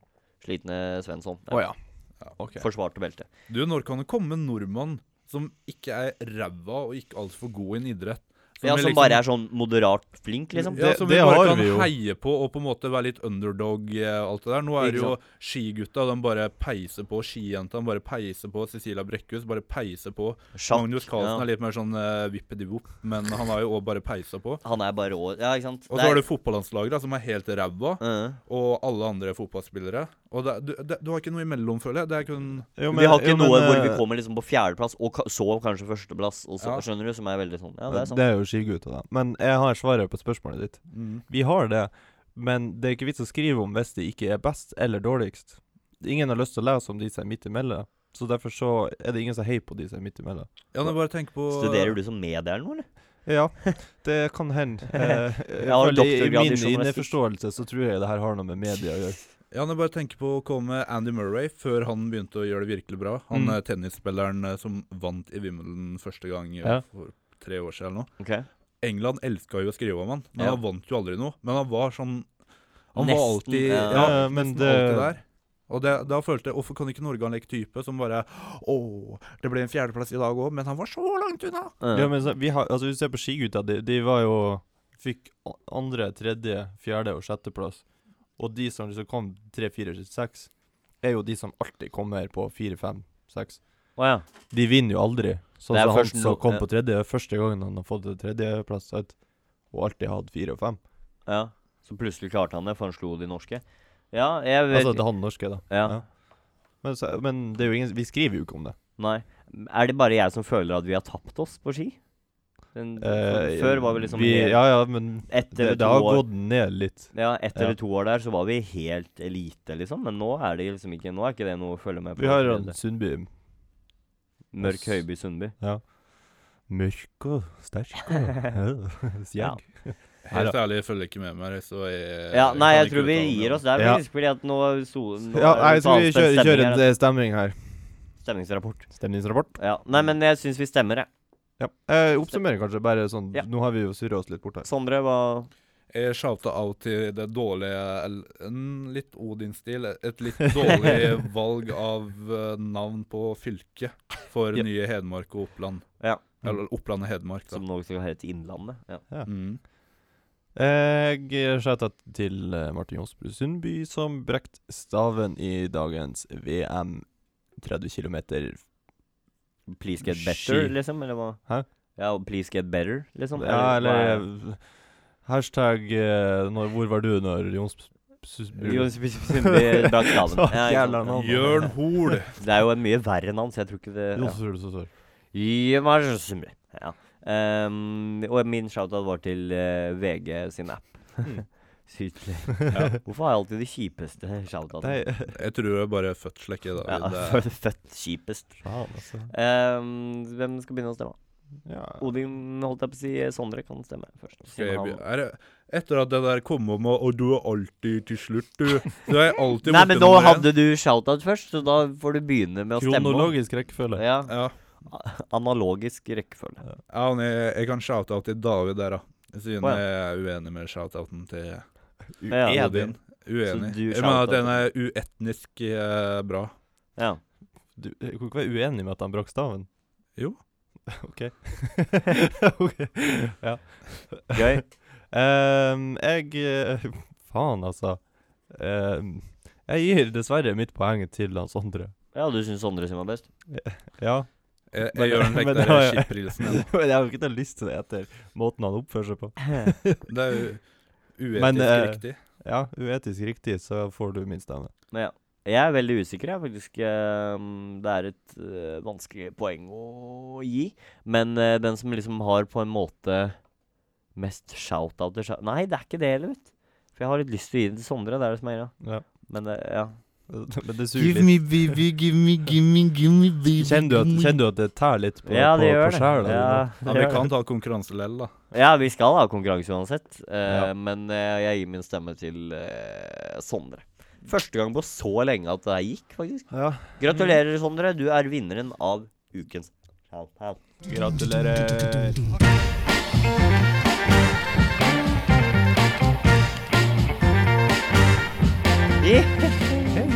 Speaker 1: slitne Svensson. Ja.
Speaker 2: ja. ok.
Speaker 1: Forsvarte beltet.
Speaker 3: Du, når kan det komme en nordmann som ikke er ræva og ikke altfor god i en idrett? liksom-
Speaker 1: ja,
Speaker 2: liksom-
Speaker 1: som bare er sånn moderat flink, liksom.
Speaker 3: Ja,
Speaker 2: Det-
Speaker 3: som
Speaker 2: det
Speaker 3: vi
Speaker 2: har
Speaker 3: bare kan
Speaker 2: vi jo.
Speaker 3: heie på og på en måte være litt underdog eh, alt det der. Nå
Speaker 1: Ikke
Speaker 3: er det jo skigutta, de bare peiser på. Skijentene bare peiser på. Cecilia Brekkhus bare peiser på.
Speaker 1: Sjakk.
Speaker 3: Magnus Carlsen
Speaker 1: ja.
Speaker 3: er litt mer sånn uh, vippedivopp, men han har jo òg bare peisa på.
Speaker 1: Han er bare rå. Ja, ikke sant.
Speaker 3: Og så har du fotballandslaget, da, som er helt ræva,
Speaker 1: Eh,
Speaker 3: og alle andre fotballspillere. Og det, du, det, du har ikke noe imellom, føler jeg. Det er kun
Speaker 2: Jo,
Speaker 1: vi har ikke
Speaker 2: jo, men,
Speaker 1: noe hvor vi
Speaker 2: eh,
Speaker 1: kommer liksom på fjerdeplass, og ka så kanskje førsteplass, og så,
Speaker 3: Ja.
Speaker 1: skjønner du, som er veldig sånn Ja, det er sant.
Speaker 2: Det er jo skigutta, da. Men jeg har svaret på spørsmålet ditt.
Speaker 1: Mm.
Speaker 2: Vi har det, men det er ikke vits å skrive om hvis det ikke er best eller dårligst. Ingen har lyst til å lese om de som er midt imellom, så derfor så er det ingen som heier på de som er midt imellom.
Speaker 3: Ja, men bare tenk på
Speaker 1: Studerer du som medie eller noe, eller?
Speaker 2: Ja, det kan hende. Eh,
Speaker 1: Jeg har
Speaker 2: ifølge i
Speaker 1: doktorgrad i
Speaker 2: min
Speaker 1: journalistikk.
Speaker 2: inneforståelse så tror jeg det her har noe med media å gjøre.
Speaker 3: Ja, men bare tenk på å komme med Andy Murray før han begynte å gjøre det virkelig bra. Han
Speaker 2: Mm.
Speaker 3: eh, tennisspilleren eh, som vant i Wimbledon første gang eh,
Speaker 2: Ja.
Speaker 3: for tre år siden eller noe.
Speaker 1: Ok.
Speaker 3: England elska jo å skrive om han, men
Speaker 1: Ja.
Speaker 3: han vant jo aldri noe. Men han var sånn Han var
Speaker 1: Nesten,
Speaker 3: alltid
Speaker 1: ja.
Speaker 3: Ja,
Speaker 2: Ja, men
Speaker 3: men
Speaker 2: det-
Speaker 3: alltid der. Og det, da følte jeg Hvorfor kan ikke Norge ha en lik type som bare Å, det ble en fjerdeplass i dag òg, men han var så langt unna!
Speaker 1: Eh,
Speaker 2: Ja, men så, vi har, altså, hvis du ser på skigutta, de, de var jo Fikk a- andre, tredje, fjerde og sjetteplass. Og de som liksom kom tre, fire, seks, er jo de som alltid kommer på fire, fem, seks.
Speaker 1: Å ja.
Speaker 2: De vinner jo aldri. Sånn
Speaker 1: Det er
Speaker 2: som han
Speaker 1: først
Speaker 2: som
Speaker 1: nå-
Speaker 2: kom
Speaker 1: ja.
Speaker 2: på tredje, første gangen han har fått tredjeplass, at- og alltid hatt fire og fem.
Speaker 1: ja. Så plutselig klarte han det, for han slo de norske. Ja, jeg vet
Speaker 2: Altså det er han norske, da.
Speaker 1: ja.
Speaker 2: ja. Men, så, men det er jo ingen, vi skriver jo ikke om det.
Speaker 1: Nei. Er det bare jeg som føler at vi har tapt oss på ski? Den,
Speaker 2: Eh,
Speaker 1: før var vi liksom helt,
Speaker 2: Ja ja, men
Speaker 1: Etter
Speaker 2: det, det
Speaker 1: to
Speaker 2: har
Speaker 1: år
Speaker 2: gått ned litt.
Speaker 1: Ja, ett eller
Speaker 2: Ja.
Speaker 1: to år der så var vi helt elite, liksom. Men nå er det liksom ikke Nå er ikke det noe å følge med på.
Speaker 2: Vi har
Speaker 1: allerede.
Speaker 2: han Sundby
Speaker 1: Mørk Høiby Sundby.
Speaker 2: mørk og sterk og
Speaker 1: Ja.
Speaker 2: stjerk.
Speaker 3: Helt ærlig, jeg følger ikke med mer, så jeg
Speaker 1: Ja, nei,
Speaker 3: kan
Speaker 1: jeg
Speaker 3: ikke
Speaker 1: tror vi
Speaker 3: uttale meg
Speaker 1: gir
Speaker 3: om
Speaker 1: oss der,
Speaker 2: Ja.
Speaker 1: faktisk. Fordi at nå, so, nå
Speaker 2: Ja,
Speaker 1: er
Speaker 2: nei,
Speaker 1: det så
Speaker 2: skal vi
Speaker 1: anspent
Speaker 2: kjøre,
Speaker 1: stemning
Speaker 2: kjøre en
Speaker 1: her, da.
Speaker 2: eh, stemning her?
Speaker 1: altså. Stemningsrapport.
Speaker 2: Stemningsrapport?
Speaker 1: Ja. Nei, men jeg syns vi stemmer, jeg.
Speaker 2: Ja. Eh, oppsummering, kanskje. Bare sånn
Speaker 1: Ja.
Speaker 2: Nå har vi jo surra oss litt bort her.
Speaker 1: Sondre, hva
Speaker 3: Jeg shouta out til det dårlige el- En litt Odin-stil. Et litt dårlig valg av eh, navn på fylke for
Speaker 2: Ja.
Speaker 3: nye Hedmark og Oppland.
Speaker 1: Ja.
Speaker 3: Eller Oppland og Hedmark, da.
Speaker 1: Som nå skal hete Innlandet. Ja.
Speaker 3: Mm.
Speaker 2: Jeg skjøter til eh, Martin Jonsbrud Sundby, som brekte staven i dagens VM 30 km.
Speaker 1: Please get better,
Speaker 2: Ski.
Speaker 1: liksom? Eller hva?
Speaker 2: Hæ?
Speaker 1: Ja, please get better, liksom?
Speaker 2: Ja,
Speaker 1: hva
Speaker 2: eller
Speaker 1: er-
Speaker 2: eh, Hashtag eh, når, Hvor var du når Jonsbrud
Speaker 1: Jo, Sundby brakk staven.
Speaker 2: Så
Speaker 1: Ja, ikke sant.
Speaker 2: jævla navn.
Speaker 3: Jørn Hoel.
Speaker 1: Det er jo en mye verre navn, så jeg tror ikke det ja. Gi meg så mye. Ja. Ehm, og min shoutout var til eh, VG sin app. Sydlig. Hvorfor har jeg alltid de kjipeste shoutoutene?
Speaker 3: Jeg tror jeg bare er fødtslekk i
Speaker 1: Ja,
Speaker 3: dag. Det-
Speaker 1: fø- født kjipest.
Speaker 2: Faen, altså.
Speaker 1: Ehm, hvem skal begynne å stemme?
Speaker 2: Ja.
Speaker 1: Odin, holdt jeg på å si. eh, Sondre kan stemme først.
Speaker 3: Skal jeg
Speaker 1: siden
Speaker 3: be-
Speaker 1: han-
Speaker 3: er det, etter at det der kom om og, og du er alltid til slutt, du. Du er alltid
Speaker 1: Nei, men
Speaker 3: borte
Speaker 1: nå
Speaker 3: nummer én.
Speaker 1: hadde du shoutout først, så da får du begynne med å stemme.
Speaker 2: Kronologisk rekkefølge.
Speaker 1: Ja.
Speaker 3: Ja.
Speaker 1: Analogisk rekkefølge.
Speaker 3: Ja, men jeg, jeg kan shout-out til David der, da. Siden
Speaker 1: Å, ja.
Speaker 3: jeg er uenig med shout-outen til
Speaker 1: Ja, ja.
Speaker 3: Odin. Uenig.
Speaker 1: du
Speaker 3: Jeg mener
Speaker 1: shout-out-
Speaker 3: at den er uetnisk eh, bra.
Speaker 1: Ja.
Speaker 2: Du jeg kan ikke være uenig med at han brakk staven?
Speaker 3: Jo.
Speaker 2: OK. ok. Ja.
Speaker 1: Gøy.
Speaker 2: Ehm, jeg eh, Faen, altså. Ehm, jeg gir dessverre mitt poeng til Hans Sondre.
Speaker 1: Ja, du syns Sondre sin var best?
Speaker 2: Ja.
Speaker 3: Jeg,
Speaker 2: Men-
Speaker 3: jeg gjør den
Speaker 2: men
Speaker 3: vekk
Speaker 2: det
Speaker 3: der
Speaker 2: har jeg-
Speaker 3: skipprisen.
Speaker 2: Men jeg har jo ikke tatt lyst til det etter måten han oppfører seg på.
Speaker 3: Det er jo uetisk
Speaker 2: Men, eh,
Speaker 3: riktig.
Speaker 2: Ja, uetisk riktig, så får du min stemme.
Speaker 1: Men ja. Jeg er veldig usikker, jeg, faktisk. ehm, Det er et eh, vanskelig poeng å gi. Men eh, den som liksom har på en måte mest shout-out til shout Nei, det er ikke det heller, vet du. For jeg har litt lyst til å gi det til Sondre, det er det som er greia.
Speaker 2: Ja.
Speaker 1: Men eh, ja.
Speaker 2: Men det suger
Speaker 4: Give
Speaker 2: litt.
Speaker 4: me, baby, give me, give me, give me, baby.
Speaker 2: Kjenner du, at,
Speaker 4: give me.
Speaker 2: kjenner du at det tær litt på,
Speaker 1: ja,
Speaker 2: på,
Speaker 1: det gjør
Speaker 2: på
Speaker 1: det.
Speaker 2: sjela?
Speaker 1: Ja,
Speaker 3: Ja,
Speaker 1: det
Speaker 3: vi
Speaker 1: gjør det.
Speaker 3: kan ta konkurranse lell, da.
Speaker 1: ja, vi skal ha konkurranse uansett. eh,
Speaker 2: Ja.
Speaker 1: Men eh, jeg gir min stemme til eh, Sondre. Første gang på så lenge at det her gikk, faktisk.
Speaker 2: Ja.
Speaker 1: Gratulerer, Sondre. Du er vinneren av ukens shout-out.
Speaker 2: Gratulerer. Hei, hei.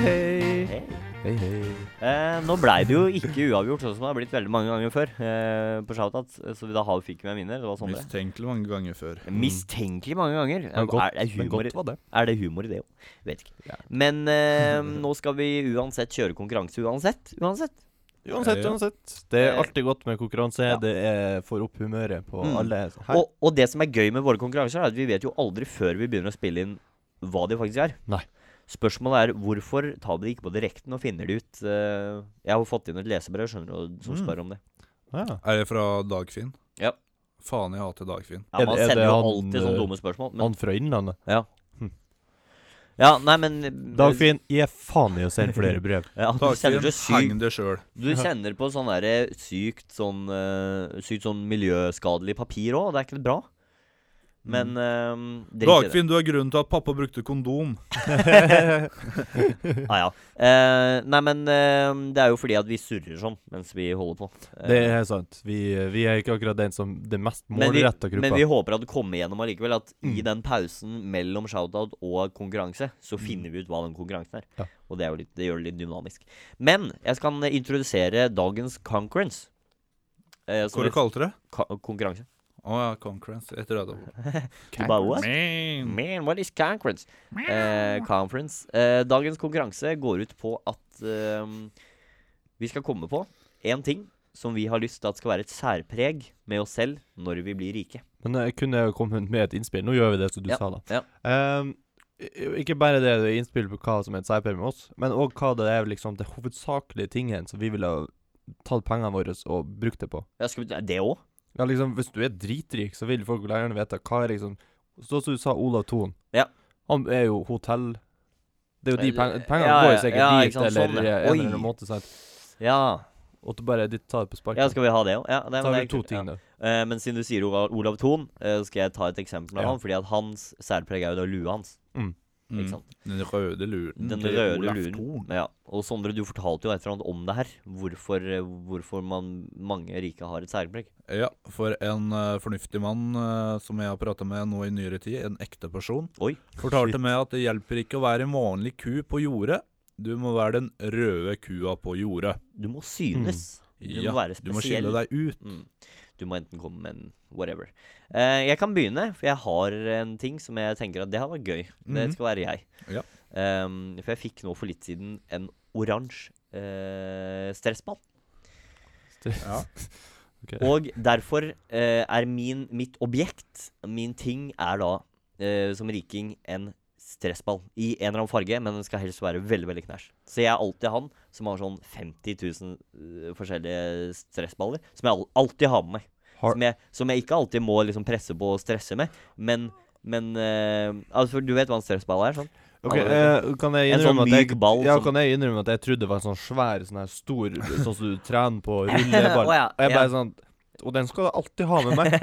Speaker 1: Hei.
Speaker 2: Hei, hei.
Speaker 1: Eh, nå blei det jo ikke uavgjort, sånn som det har blitt veldig mange ganger før. Eh, på shout-out, så vi da har, fikk vi en vinner. Sånn Det var Sondre.
Speaker 3: Mistenkelig mange ganger før.
Speaker 1: Mistenkelig mange ganger.
Speaker 2: Men
Speaker 1: Er,
Speaker 2: godt,
Speaker 1: er, er,
Speaker 2: men
Speaker 1: humor,
Speaker 2: godt var det.
Speaker 1: er det humor i det òg? Vet ikke.
Speaker 2: Ja.
Speaker 1: Men eh, nå skal vi uansett kjøre konkurranse uansett. Uansett.
Speaker 2: Uansett,
Speaker 3: Ja.
Speaker 2: uansett. Det er
Speaker 1: Eh,
Speaker 2: alltid godt med konkurranse.
Speaker 1: ja.
Speaker 2: Det er får opp humøret på
Speaker 1: Mm.
Speaker 2: alle. sånn her.
Speaker 1: Og, og det som er gøy med våre konkurranser, er at vi vet jo aldri før vi begynner å spille inn hva de faktisk er.
Speaker 2: Nei.
Speaker 1: Spørsmålet er hvorfor tar vi det ikke på direkten og finner det ut? Eh, jeg har fått inn et lesebrev skjønner du, som
Speaker 2: Mm.
Speaker 1: spør om det.
Speaker 2: Ja.
Speaker 3: Mm. Er det fra Dagfinn?
Speaker 1: Ja.
Speaker 3: Faen, jeg hater Dagfinn.
Speaker 1: Ja,
Speaker 2: Er
Speaker 1: man
Speaker 2: det- er
Speaker 1: sender
Speaker 2: det
Speaker 1: jo
Speaker 2: han,
Speaker 1: alltid sånne
Speaker 2: eh,
Speaker 1: dumme spørsmål. Men,
Speaker 2: Han fra Innlandet.
Speaker 1: ja.
Speaker 2: Hm.
Speaker 1: ja, nei, men
Speaker 2: Dagfinn, gi faen i å sende flere brev.
Speaker 1: Ja, du sender
Speaker 3: Dagfinn,
Speaker 1: så sykt
Speaker 3: heng det sjøl.
Speaker 1: Du kjenner på sånn derre sykt sånn eh, Sykt sånn miljøskadelig papir òg. Det er ikke bra.
Speaker 2: Mm.
Speaker 1: Men eh, drit i det.
Speaker 3: Dagfinn, du er grunnen til at pappa brukte kondom.
Speaker 1: Ah, ja. Eh, nei, men eh, det er jo fordi at vi surrer sånn mens vi holder på. Eh,
Speaker 2: Det er sant. Vi, vi er ikke akkurat den som den mest
Speaker 1: men vi,
Speaker 2: målretta gruppa.
Speaker 1: men vi håper at det kommer gjennom allikevel. At i
Speaker 2: Mm.
Speaker 1: den pausen mellom shoutout og konkurranse, så finner vi ut hva den konkurransen er.
Speaker 2: Ja.
Speaker 1: Og det, er jo litt, det gjør det litt dynamisk. Men jeg skal eh, introdusere dagens concurrence. Eh, som
Speaker 3: Hva
Speaker 1: er
Speaker 3: du kalte du det?
Speaker 1: ka konkurranse.
Speaker 3: Å ja, Concurrence. Jeg tror det var
Speaker 1: Du bare, what?
Speaker 3: Man.
Speaker 1: Man, what is conference? Eh, conference. Eh, dagens konkurranse går ut på at eh, vi skal komme på én ting som vi har lyst til at skal være et særpreg med oss selv når vi blir rike.
Speaker 2: Men jeg kunne jo kommet med et innspill. Nå gjør vi det som du
Speaker 1: Ja,
Speaker 2: sa, da.
Speaker 1: ja.
Speaker 2: Ehm, i- ikke bare det det er innspill på hva som er et særpreg med oss, men òg hva det er liksom det hovedsakelige tingen som vi ville ha tatt pengene våre og brukt det på.
Speaker 1: Ja, skal vi, det òg?
Speaker 2: Ja, liksom, Hvis du er dritrik, så vil folk gjerne vite hva er liksom Sånn som du sa Olav Thon.
Speaker 1: Ja.
Speaker 2: Han er jo hotell... Det er jo de pengene Pengene
Speaker 1: Ja,
Speaker 2: går jo
Speaker 1: ja,
Speaker 2: sikkert
Speaker 1: ja,
Speaker 2: dit,
Speaker 1: ikke sant,
Speaker 2: eller
Speaker 1: sånn,
Speaker 2: en
Speaker 1: ja.
Speaker 2: eller
Speaker 1: Oi.
Speaker 2: annen måte. Sant?
Speaker 1: Ja.
Speaker 2: Og at du bare ditt tar det på sparket.
Speaker 1: ja. Skal vi ha det òg? Ja, det-
Speaker 2: så
Speaker 1: men
Speaker 2: har vi
Speaker 1: det er
Speaker 2: to
Speaker 1: kult, ja.
Speaker 2: ting, da.
Speaker 1: Eh, men siden du sier Ola- Olav Thon, eh, skal jeg ta et eksempel av
Speaker 2: Ja.
Speaker 1: han. Fordi at hans særpreg er jo da lua hans.
Speaker 2: Mm.
Speaker 1: Ikke sant?
Speaker 3: Mm. Den røde luren.
Speaker 1: Den
Speaker 3: til
Speaker 1: røde
Speaker 3: Olaf
Speaker 1: luren.
Speaker 3: Thon.
Speaker 1: Ja. Og Sondre, du fortalte jo et eller annet om det her. Hvorfor, eh, hvorfor man, mange rike har et særpreg.
Speaker 3: Ja, for en eh, fornuftig mann eh, som jeg har prata med nå i nyere tid, en ekte person,
Speaker 1: Oi.
Speaker 3: fortalte meg at det hjelper ikke å være en vanlig ku på jordet. Du må være den røde kua på jordet.
Speaker 1: Du må synes. Du
Speaker 3: Ja,
Speaker 1: må være
Speaker 3: Du må
Speaker 1: spesiell.
Speaker 3: skille deg ut.
Speaker 1: Mm. Du må enten komme med en whatever. Eh, jeg kan begynne, for jeg har en ting som jeg tenker at det hadde vært gøy. Det
Speaker 3: Mhm.
Speaker 1: skal være jeg.
Speaker 3: Ja.
Speaker 1: Ehm, for jeg fikk nå for litt siden en oransje eh, stressball.
Speaker 3: Ja.
Speaker 2: Ok.
Speaker 1: Og derfor eh, er min, mitt objekt, min ting, er da eh, som riking en stressball. I en eller annen farge, men den skal helst være veldig veldig knæsj. Så jeg er alltid han som har sånn 50 000 eh, forskjellige stressballer, som jeg al- alltid har med meg.
Speaker 2: Har-
Speaker 1: Som jeg, som jeg ikke alltid må liksom presse på og stresse med. Men, men eh, altså, Du vet hva en stressball er? sånn?
Speaker 2: Ok,
Speaker 1: Alle
Speaker 2: eh, kan jeg
Speaker 1: En sånn
Speaker 2: innrømme at
Speaker 1: myk
Speaker 2: jeg,
Speaker 1: ball
Speaker 2: ja,
Speaker 1: som-
Speaker 2: kan jeg innrømme at jeg trodde det var en sånn svær, sånn her stor, sånn som du trener på rulleball.
Speaker 1: Å ja,
Speaker 2: Og jeg
Speaker 1: ja.
Speaker 2: bare sånn Og den skal jeg alltid ha med meg.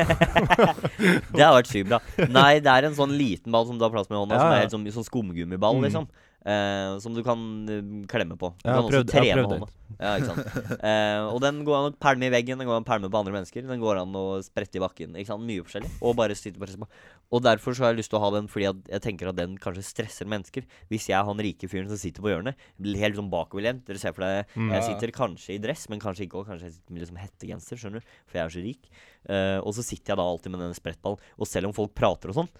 Speaker 1: Det har vært sykt bra. Nei, det er en sånn liten ball som du har plass med i hånda.
Speaker 2: Ja,
Speaker 1: Som
Speaker 2: ja.
Speaker 1: er helt sånn, sånn skumgummiball,
Speaker 2: Mm.
Speaker 1: liksom. Eh, som du kan eh, klemme på. Du
Speaker 2: Jeg
Speaker 1: kan
Speaker 2: har
Speaker 1: også
Speaker 2: prøvd,
Speaker 1: trene
Speaker 2: jeg har prøvd
Speaker 1: hånda.
Speaker 2: den.
Speaker 1: Ja, ikke sant? Eh, og den går an å pælme i veggen, den går an å pælme på andre mennesker, den går an å sprette i bakken. ikke sant? Mye forskjellig. Og bare sitte på resten. Og derfor så har jeg lyst til å ha den, fordi at jeg tenker at den kanskje stresser mennesker. Hvis jeg er han rike fyren som sitter på hjørnet, blir helt sånn bakoverlent Dere ser for deg
Speaker 2: Mm.
Speaker 1: Jeg sitter kanskje i dress, men kanskje ikke. Og kanskje jeg sitter med liksom hettegenser, skjønner du, for jeg er så rik. Eh, og så sitter jeg da alltid med den sprettballen. Og selv om folk prater og sånn,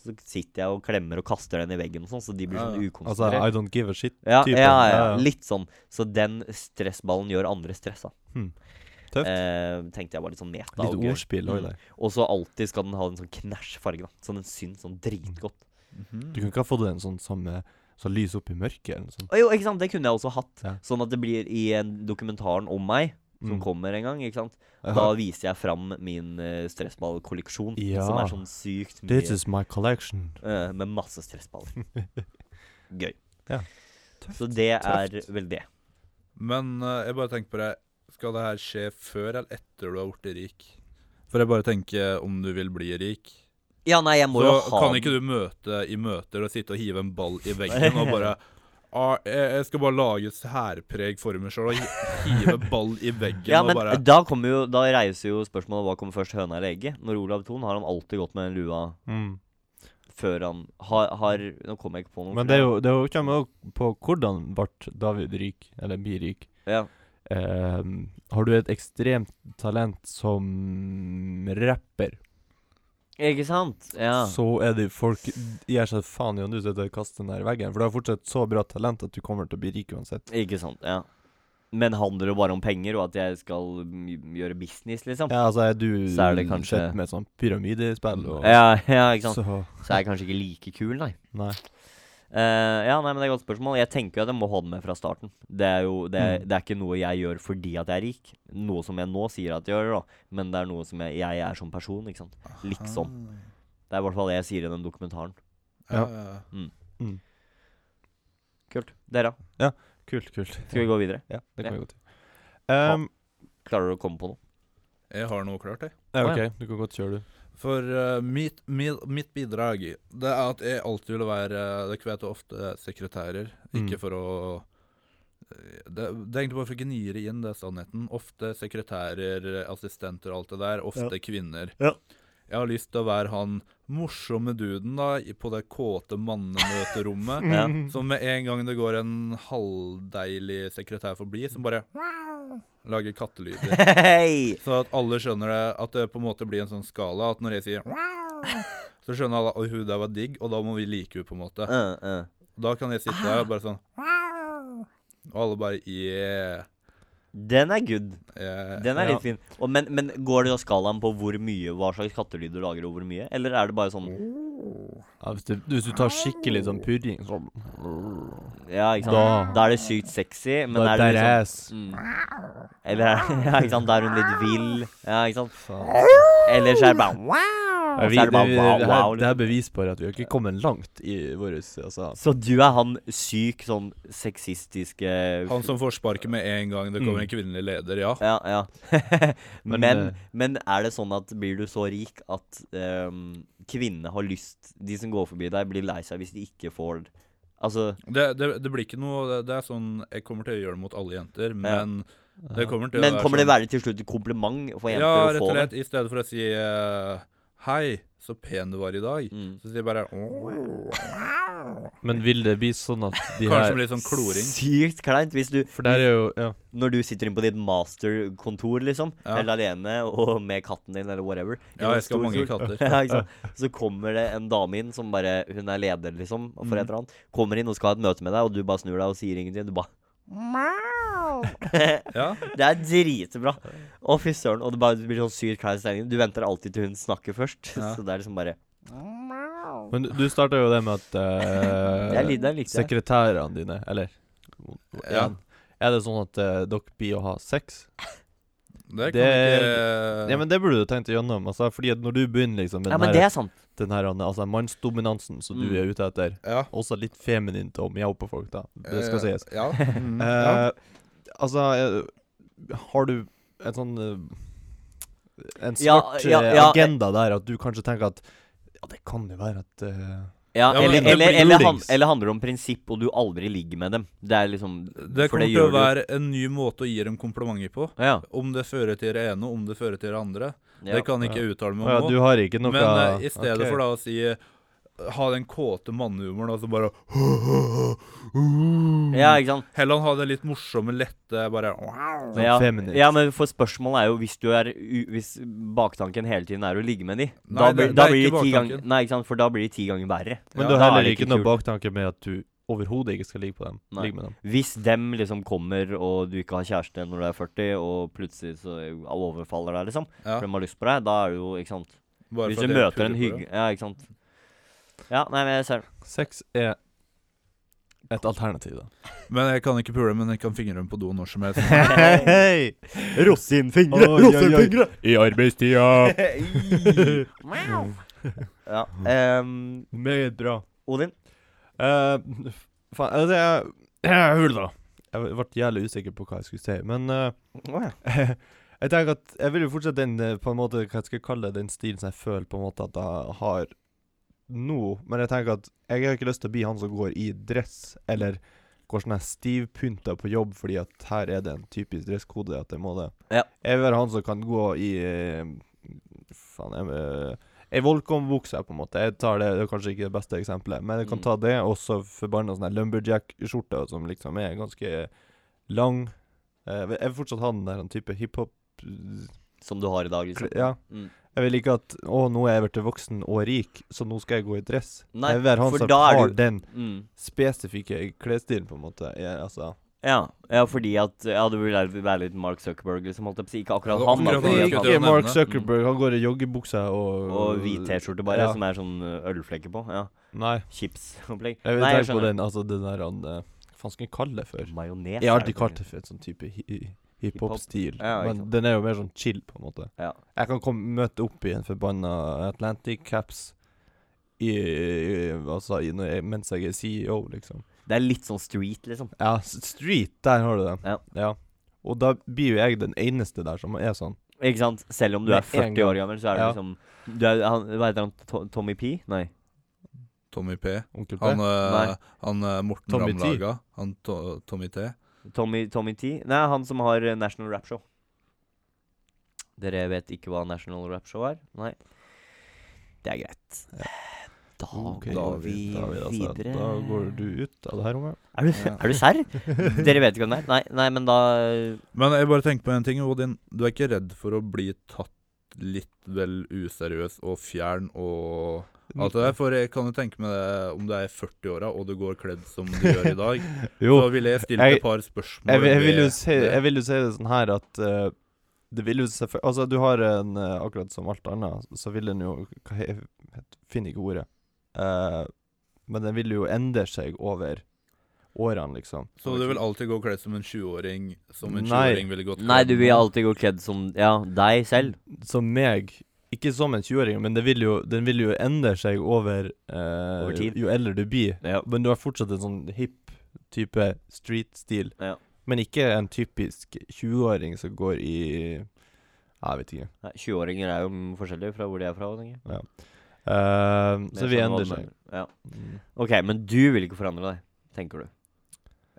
Speaker 1: så sitter jeg og klemmer og kaster den i veggen og sånn, så de blir sånn
Speaker 3: Ja, ja.
Speaker 2: Altså,
Speaker 1: ukonsentrert.
Speaker 2: I don't give a shit.
Speaker 1: Ja,
Speaker 2: typen.
Speaker 1: ja, ja,
Speaker 2: Ja, ja.
Speaker 1: litt sånn. Så den stressballen gjør andre stressa.
Speaker 2: Tøft.
Speaker 1: Eh, tenkte jeg var litt sånn meta
Speaker 2: Litt
Speaker 1: og gøy.
Speaker 2: ordspill
Speaker 1: Mm.
Speaker 2: òg der.
Speaker 1: Og så alltid skal den ha en sånn knæsj farge, da. Så den syns sånn dritgodt.
Speaker 3: Mhm.
Speaker 2: Du kunne ikke ha fått en sånn samme så lys opp i mørket eller noe sånt.
Speaker 1: Å jo, ikke sant, det kunne jeg også hatt.
Speaker 2: Ja.
Speaker 1: Sånn at det blir i en dokumentaren om meg, som
Speaker 2: Mm.
Speaker 1: kommer en gang, ikke sant.
Speaker 2: Ja.
Speaker 1: Da viser jeg fram min eh, stressballkolleksjon,
Speaker 2: Ja.
Speaker 1: som er sånn sykt mye
Speaker 2: This is my collection.
Speaker 1: eh, Med masse stressballer. Gøy.
Speaker 2: Ja.
Speaker 1: Så det
Speaker 2: Tøft.
Speaker 1: er vel det.
Speaker 3: Men eh, jeg bare tenker på det Skal det her skje før eller etter du har blitt rik? For jeg bare tenker om du vil bli rik.
Speaker 1: Ja, nei, jeg må
Speaker 3: Så
Speaker 1: jo ha
Speaker 3: kan
Speaker 1: den.
Speaker 3: ikke du møte i møter og sitte og hive en ball i veggen og bare ah, jeg, jeg skal bare lage særpreg for meg sjøl og hi- hive ball i veggen
Speaker 1: Ja,
Speaker 3: og
Speaker 1: men
Speaker 3: bare
Speaker 1: da, kommer jo, da reiser jo spørsmålet hva kommer først, høna eller egget? Når Olav Thon har han alltid gått med lua
Speaker 2: Mm.
Speaker 1: før han har, har Nå kommer jeg ikke på noe.
Speaker 2: Men det er jo, det er jo kommer jo på hvordan ble David rik, eller blir rik.
Speaker 1: ja.
Speaker 2: Ehm, har du et ekstremt talent som rapper,
Speaker 1: Ikke sant? Ja.
Speaker 2: så er det folk gir seg faen i om du sitter og kaster den der i veggen. For du har fortsatt så bra talent at du kommer til å bli rik uansett.
Speaker 1: Ikke sant, ja. Men handler det bare om penger, og at jeg skal mm, gjøre business, liksom?
Speaker 2: Ja, altså er du
Speaker 1: Så er det kanskje-
Speaker 2: sett med sånn pyramidespill og
Speaker 1: Ja, ja, ikke sant.
Speaker 2: Så
Speaker 1: Så er jeg kanskje ikke like kul, nei.
Speaker 2: Nei.
Speaker 1: Eh, ja, nei, men Det er et godt spørsmål. Jeg tenker jo at jeg må ha den med fra starten. Det er jo det,
Speaker 2: Mm.
Speaker 1: det er ikke noe jeg gjør fordi at jeg er rik. Noe som jeg nå sier at jeg gjør, da. Men det er noe som jeg, jeg er som person. ikke sant? Liksom. Det er i hvert fall det jeg sier i den dokumentaren.
Speaker 3: "Ah, Ja.
Speaker 1: Kult. Dere,
Speaker 2: Kult, kult.
Speaker 1: skal vi gå videre?
Speaker 2: Ja, det kan
Speaker 1: Ja.
Speaker 2: vi gå til. Ehm,
Speaker 1: Klarer du å komme på noe?
Speaker 3: Jeg har noe klart, jeg.
Speaker 2: ja,
Speaker 1: Å, ja.
Speaker 2: OK, du kan godt kjøre, du.
Speaker 3: For eh, mitt, mitt, mitt bidrag Det er at jeg alltid vil være eh, Dere vet jo ofte sekretærer.
Speaker 2: Mm.
Speaker 3: Ikke for å eh, det, det er egentlig bare for å gni det inn, det er sannheten. Ofte sekretærer, assistenter og alt det der. Ofte kvinner.
Speaker 1: Ja.
Speaker 3: Jeg har lyst til å være han morsomme duden da i- på det kåte mannemøterommet.
Speaker 1: Ja.
Speaker 2: Mm.
Speaker 3: Som med en gang det går en halvdeilig sekretær forbi, som bare lager kattelyder.
Speaker 1: Hei!
Speaker 3: Så at alle skjønner det, at det på en måte blir en sånn skala at når jeg sier «Wow», så skjønner alle at hun der var digg, og da må vi like henne på en måte.
Speaker 1: Eh, eh.
Speaker 3: Da kan jeg sitte der og bare sånn «Wow», Og alle bare yeah.
Speaker 1: Den er good.
Speaker 3: yeah.
Speaker 1: Den er
Speaker 3: Ja.
Speaker 1: litt fin. Og, men, men går det da skalaen på hvor mye, hva slags kattelyder du lager, og hvor mye? Eller er det bare sånn
Speaker 2: Mm. Ja, hvis, du, hvis du tar skikkelig sånn purring sånn
Speaker 1: Ja, ikke sant? Da,
Speaker 2: Da-
Speaker 1: er det sykt sexy, men
Speaker 2: da
Speaker 1: er det
Speaker 2: der
Speaker 1: litt
Speaker 2: ass.
Speaker 1: sånn mm. Eller er- ja, ikke sant? Da er hun litt vill. Ja, ikke sant?
Speaker 2: Faen.
Speaker 1: Eller så er det bare wow.
Speaker 2: Ja,
Speaker 1: Og
Speaker 2: vi,
Speaker 1: så er det
Speaker 2: det,
Speaker 1: bare
Speaker 2: vi,
Speaker 1: wow,
Speaker 2: det, her,
Speaker 1: wow.
Speaker 2: det her
Speaker 1: Liksom.
Speaker 2: bevis bare at vi har ikke kommet langt i vår altså.
Speaker 1: Så du er han syk sånn sexistiske
Speaker 3: Han som får sparket med en gang det kommer en kvinnelig leder, ja.
Speaker 1: Mm. Ja, ja. men,
Speaker 2: Men,
Speaker 1: men,
Speaker 2: eh,
Speaker 1: er det sånn at blir du så rik at um, kvinnene har lyst De som går forbi deg, blir lei seg hvis de ikke får Altså
Speaker 3: Det, det, det blir ikke noe det, det er sånn Jeg kommer til å gjøre det mot alle jenter, men det kommer til å
Speaker 1: Men
Speaker 3: være
Speaker 1: kommer det
Speaker 3: sånn-
Speaker 1: være til slutt et kompliment for jenter
Speaker 3: Ja,
Speaker 1: å
Speaker 3: rett
Speaker 1: få
Speaker 3: og slett.
Speaker 1: det?
Speaker 3: I stedet for å si eh, Hei, så pen du var i dag,
Speaker 1: Mm.
Speaker 3: så sier jeg bare «Wow».
Speaker 2: Men vil det bli sånn at de
Speaker 3: Kanskje
Speaker 2: her
Speaker 3: blir litt sånn kloring.
Speaker 1: Sykt kleint hvis du
Speaker 2: For der er jo ja.
Speaker 1: Når du sitter inne på ditt masterkontor, liksom,
Speaker 3: Ja.
Speaker 1: helt alene og med katten din, eller whatever i
Speaker 3: Ja,
Speaker 1: en
Speaker 3: jeg skal ha
Speaker 1: stor
Speaker 3: mange
Speaker 1: stol.
Speaker 3: katter.
Speaker 1: Ja, ikke sant? Så kommer det en dame inn som bare Hun er leder, liksom, for
Speaker 3: Mhm.
Speaker 1: et eller annet. Kommer inn og skal ha et møte med deg, og du bare snur deg og sier ingenting. Du bare
Speaker 3: Ja,
Speaker 1: Det er dritbra! Å, fy søren. Og det bare blir sånn sykt klein stemning. Du venter alltid til hun snakker først.
Speaker 3: Ja.
Speaker 1: Så det er liksom bare
Speaker 2: Men du- du starta jo det med at eh,
Speaker 1: Det er litt- det er litt, ja.
Speaker 2: sekretærene dine, eller
Speaker 3: Ja.
Speaker 2: en, Er det sånn at eh, dere blir å ha sex?
Speaker 3: det kan
Speaker 2: Det-
Speaker 3: ikke eh,
Speaker 2: Ja, men det burde du tenkt igjennom. Altså, fordi at når du begynner liksom med
Speaker 1: Ja, men
Speaker 2: den
Speaker 1: det er
Speaker 2: her,
Speaker 1: sant.
Speaker 2: den her altså, mannsdominansen som du
Speaker 1: Mm.
Speaker 2: er ute etter,
Speaker 3: ja.
Speaker 2: også litt feminint å mjaue på folk, da. Det skal
Speaker 3: Eh,
Speaker 2: sies.
Speaker 3: Ja. Mm, ja.
Speaker 2: Eh, altså, eh, har du en sånn eh, En
Speaker 1: Ja,
Speaker 2: svart
Speaker 1: ja,
Speaker 2: eh,
Speaker 1: ja,
Speaker 2: agenda der at du kanskje tenker at Ja, det kan jo være at eh,
Speaker 1: Ja,
Speaker 3: Ja, men
Speaker 1: eller,
Speaker 3: det
Speaker 1: eller,
Speaker 3: blir
Speaker 1: eller,
Speaker 3: jo
Speaker 1: han,
Speaker 3: dings.
Speaker 1: eller handler det om prinsipp, og du aldri ligger med dem. Det er liksom
Speaker 3: Det
Speaker 1: for
Speaker 3: kommer til
Speaker 1: gjør
Speaker 3: å
Speaker 1: du-
Speaker 3: være en ny måte å gi dem komplimenter på.
Speaker 1: Ja,
Speaker 3: Om det fører til det ene, om det fører til det andre.
Speaker 1: ja.
Speaker 3: Det kan ikke jeg uttale meg
Speaker 2: Å ja,
Speaker 3: om nå.
Speaker 2: du har ikke noe
Speaker 3: Men eh, i stedet for da å si eh, Ha den kåte mannehumoren, altså bare
Speaker 2: Mm.
Speaker 1: ja, ikke sant?
Speaker 3: Heller han ha den litt morsomme, lette bare
Speaker 2: Sånn
Speaker 1: Men ja,
Speaker 2: feminist.
Speaker 1: ja, men for spørsmålet er jo hvis, du er, u- hvis baktanken hele tiden er å ligge med de,
Speaker 3: Nei,
Speaker 1: da,
Speaker 3: det-
Speaker 1: blir-
Speaker 3: det
Speaker 1: da
Speaker 3: er
Speaker 1: blir det
Speaker 3: ikke
Speaker 1: ti ganger
Speaker 3: baktanken.
Speaker 1: Nei, ikke sant, for da blir det ti ganger verre.
Speaker 2: Men
Speaker 3: Ja,
Speaker 2: du
Speaker 1: da
Speaker 2: har
Speaker 1: er
Speaker 2: heller
Speaker 1: det
Speaker 2: ikke
Speaker 1: ikke
Speaker 2: noe
Speaker 1: kult.
Speaker 2: baktanke med at du overhodet ikke skal ligge på dem.
Speaker 1: Nei.
Speaker 2: Ligge med dem.
Speaker 1: Hvis dem liksom kommer, og du ikke har kjæreste når du er 40, og plutselig så overfaller deg, liksom,
Speaker 3: Ja,
Speaker 1: for de har lyst på deg, da er det jo, ikke sant
Speaker 3: bare
Speaker 1: Hvis
Speaker 3: for at
Speaker 1: du
Speaker 3: jeg
Speaker 1: møter en
Speaker 3: puler på det.
Speaker 1: hygge... Ja, ikke sant. Ja, nei, men jeg ser den.
Speaker 2: Sex er et alternativ, da.
Speaker 3: Men jeg kan ikke pule, men jeg kan fingre dem på do når som helst.
Speaker 2: Hei!
Speaker 4: Rosinfingre! Rosinfingre!
Speaker 2: I arbeidstida!
Speaker 1: Wow. Ja. ehm,
Speaker 2: Meget bra.
Speaker 1: Odin?
Speaker 2: Eh, f- faen, altså jeg, jeg Hull, da. Jeg ble jævlig usikker på hva jeg skulle si, men eh, Jeg tenker at jeg vil jo fortsatt den eh, på en måte, hva jeg skal kalle det, den stilen som jeg føler på en måte at jeg har nå. Men jeg tenker at jeg har ikke lyst til å bli han som går i dress, eller går sånn her stivpynta på jobb, fordi at her er det en typisk dresskode at jeg må det.
Speaker 1: Ja.
Speaker 2: Jeg vil være han som kan gå i eh, Faen, jeg eh, Ei Volcom-bukse, på en måte. Jeg tar det, det er kanskje ikke det beste eksempelet, men jeg kan
Speaker 1: Mm.
Speaker 2: ta det, og så forbanna sånn her lumberjack-skjorte som liksom er ganske lang. Eh, Jeg vil fortsatt ha den der den type hiphop
Speaker 1: Som du har i dag, liksom?
Speaker 2: Kle- Ja.
Speaker 1: Mm.
Speaker 2: Jeg vil ikke at Å, nå er jeg blitt voksen og rik, så nå skal jeg gå i dress.
Speaker 1: Nei,
Speaker 2: jeg vil være han
Speaker 1: for
Speaker 2: som
Speaker 1: da er
Speaker 2: har
Speaker 1: du-
Speaker 2: den
Speaker 1: Mm.
Speaker 2: spesifikke klesstilen, på en måte. Jeg, altså
Speaker 1: Ja, ja, fordi at Ja, du vil være- være litt Mark Zuckerberg, liksom, holdt jeg på å si. Ikke akkurat
Speaker 3: Ja,
Speaker 1: han, da.
Speaker 3: akkurat
Speaker 1: fordi
Speaker 3: det.
Speaker 1: at han-
Speaker 2: Ikke Mark
Speaker 3: nevne.
Speaker 2: Zuckerberg. Han går i joggebukse og
Speaker 1: Og hvit T-skjorte, bare,
Speaker 2: Ja.
Speaker 1: som er sånn ø, ølflekker på. Ja.
Speaker 2: Nei,
Speaker 1: Chipsopplegg.
Speaker 2: jeg vil
Speaker 1: Nei,
Speaker 2: tenke på den, altså den der han eh, Hva faen skal jeg kalle det for?
Speaker 1: Majones.
Speaker 2: Jeg har
Speaker 1: er det
Speaker 2: alltid
Speaker 1: for
Speaker 2: kalt
Speaker 1: noe.
Speaker 2: det for en sånn type hi- hi- hiphop-stil,
Speaker 1: Ja, ikke
Speaker 2: men
Speaker 1: sant.
Speaker 2: den er jo mer sånn chill, på en måte.
Speaker 1: Ja.
Speaker 2: Jeg kan komme, møte opp i en forbanna Atlantic caps i, altså, i, når jeg, mens jeg er CEO, liksom.
Speaker 1: Det er litt sånn street, liksom.
Speaker 2: Ja, s- Street, der har du det.
Speaker 1: Ja.
Speaker 2: Og da blir jo jeg den eneste der som er sånn.
Speaker 1: Ikke sant? Selv om du er
Speaker 2: Med en
Speaker 1: 40 år gammel, så er du
Speaker 2: Ja.
Speaker 1: liksom du er, han, Hva heter han? To Tommy P? Nei.
Speaker 3: Tommy P.
Speaker 2: Onkel P.
Speaker 3: Han, eh,
Speaker 1: Nei.
Speaker 3: han eh, Morten
Speaker 2: Tommy T.
Speaker 3: Ramlaga. Han to Tommy T.
Speaker 1: Tommy, Tommy T? Nei, han som har eh, National Rap Show. Dere vet ikke hva National Rap Show er? Nei. Det er greit. Da
Speaker 3: Ah,
Speaker 2: Ok,
Speaker 1: går vi,
Speaker 2: da er altså-
Speaker 1: videre.
Speaker 2: Da går du ut av det her rommet.
Speaker 1: Er du,
Speaker 3: Ja.
Speaker 1: er du serr? Dere vet ikke hvem det er? Nei, nei men da
Speaker 3: Men jeg bare tenker på en ting, Odin. Du er ikke redd for å bli tatt litt vel useriøs og fjern og alt det der? For jeg kan jo tenke meg det om du er i 40-åra og du går kledd som du gjør i dag.
Speaker 2: Jo,
Speaker 3: så ville jeg stilt
Speaker 2: jeg-
Speaker 3: et par spørsmål.
Speaker 2: jeg, vil- jeg, vil jo
Speaker 3: ved
Speaker 2: si,
Speaker 3: det.
Speaker 2: jeg vil jo si det sånn her at eh, det vil jo selvfølgelig Altså, du har en eh, Akkurat som alt annet, så vil den jo hva he- het- Finner ikke ordet. Eh, men den vil jo endre seg over årene, liksom.
Speaker 3: Så du vil alltid gå kledd som en 20-åring som en
Speaker 2: Nei.
Speaker 3: 20-åring ville gått
Speaker 1: Nei,
Speaker 3: kledd
Speaker 1: du vil
Speaker 3: nå?
Speaker 1: alltid gå kledd som Ja, deg selv.
Speaker 2: som meg Ikke som en 20-åring, men det vil jo, den vil jo endre seg over, eh,
Speaker 1: Over tid.
Speaker 2: Jo eldre du blir.
Speaker 1: Ja.
Speaker 2: Men du har fortsatt en sånn hipp type street-stil.
Speaker 1: Ja.
Speaker 2: Men ikke en typisk 20-åring som går i Jeg vet ikke.
Speaker 1: Nei, 20-åringer er jo mm, forskjellige fra hvor de er fra. tenker jeg.
Speaker 2: Eh,
Speaker 1: Men
Speaker 2: så
Speaker 1: jeg skjønner
Speaker 2: vi
Speaker 1: hva
Speaker 2: endrer
Speaker 1: du
Speaker 2: seg. Mm.
Speaker 1: mener. Ja. Ok, men du vil ikke forandre deg, tenker du?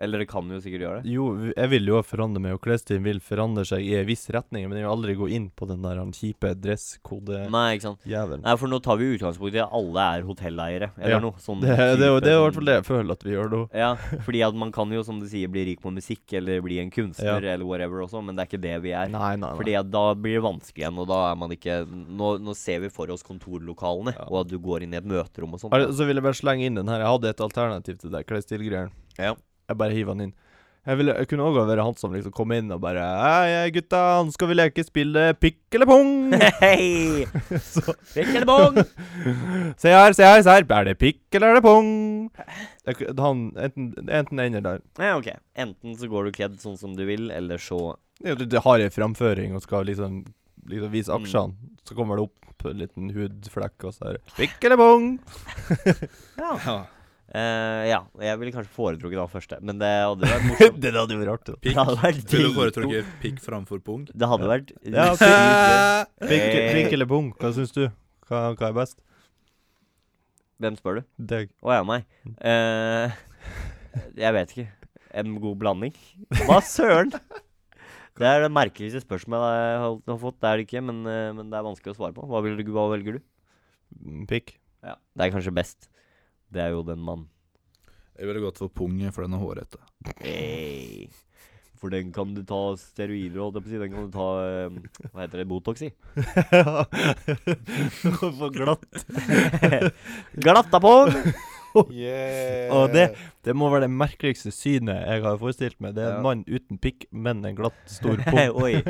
Speaker 1: Eller det kan jo sikkert gjøre det.
Speaker 2: Jo, jeg vil jo forandre meg, og klesstilen vil forandre seg i en viss retning, men jeg vil aldri gå inn på den der han kjipe dresskode-jævelen.
Speaker 1: Nei, ikke sant. Nei, for nå tar vi utgangspunkt i at alle er hotelleiere, eller
Speaker 2: Ja.
Speaker 1: noe. Sånn
Speaker 2: Det, det, er jo-
Speaker 1: type
Speaker 2: det er i
Speaker 1: sånn-
Speaker 2: hvert fall det jeg føler at vi gjør nå.
Speaker 1: Ja, fordi at man kan jo, som du sier, bli rik på musikk, eller bli en kunstner, eller whatever også, men det er ikke det vi
Speaker 2: Nei,
Speaker 1: er.
Speaker 2: nei, nei.
Speaker 1: Fordi at da blir det vanskelig igjen, og da er man ikke Nå, nå ser vi for oss kontorlokalene,
Speaker 2: Ja.
Speaker 1: og at du går inn i et møterom og sånt.
Speaker 2: Har- Så vil jeg bare slenge inn den her. Jeg hadde et alternativ til det klesstilgreiene.
Speaker 1: Ja.
Speaker 2: Jeg bare hiver den inn. Jeg, ville, jeg kunne òg være han som liksom kom inn og bare Hei, hei, gutta, nå skal vi leke spille pikk eller pung?
Speaker 1: Hei! Pikk eller bong?
Speaker 2: se her, se her, se her. Er det pikk eller er det pung? Jeg, ku- han, enten, enten ender der.
Speaker 1: Ja, ok. Enten så går du kledd sånn som du vil, eller så
Speaker 2: Ja, Du, du har ei framføring og skal liksom, liksom
Speaker 1: Mm.
Speaker 2: vise aksjene. Så kommer det opp en liten hudflekk, og så er det pikk eller pung?
Speaker 1: Ja.
Speaker 3: Ja.
Speaker 1: Eh, ja, jeg ville kanskje foretrukket han første, men det hadde vært morsomt.
Speaker 2: det hadde vært artig.
Speaker 1: det hadde vært
Speaker 3: Ville du
Speaker 1: dritgodt.
Speaker 3: foretrukket pikk framfor pung?
Speaker 1: Det hadde vært
Speaker 2: Ja,
Speaker 1: sykt gøy.
Speaker 2: Pikk,
Speaker 1: Eh,
Speaker 2: pikk eller pung, hva syns du? Hva, hva er best?
Speaker 1: Hvem spør du?
Speaker 2: Deg.
Speaker 1: Å ja, meg. Eh, jeg vet ikke. En god blanding? Hva søren? Det er det merkeligste spørsmålet jeg har, har fått. Det er det ikke, men, eh, men det er vanskelig å svare på. Hva, vil du, hva velger du?
Speaker 2: Mm, Pikk.
Speaker 1: Ja. Det er kanskje best. Det er jo den mannen.
Speaker 3: Jeg ville gått for pung, for den er hårete.
Speaker 1: Hey. For den kan du ta steroider og holdt jeg på å si. Den kan du ta eh, Hva heter det? Botox i.
Speaker 2: For glatt.
Speaker 1: Glattapong!
Speaker 2: Og det, det må være det merkeligste synet jeg har forestilt meg. Det er
Speaker 1: Ja.
Speaker 2: en mann uten pikk, men en glatt, stor pung.
Speaker 1: Oi.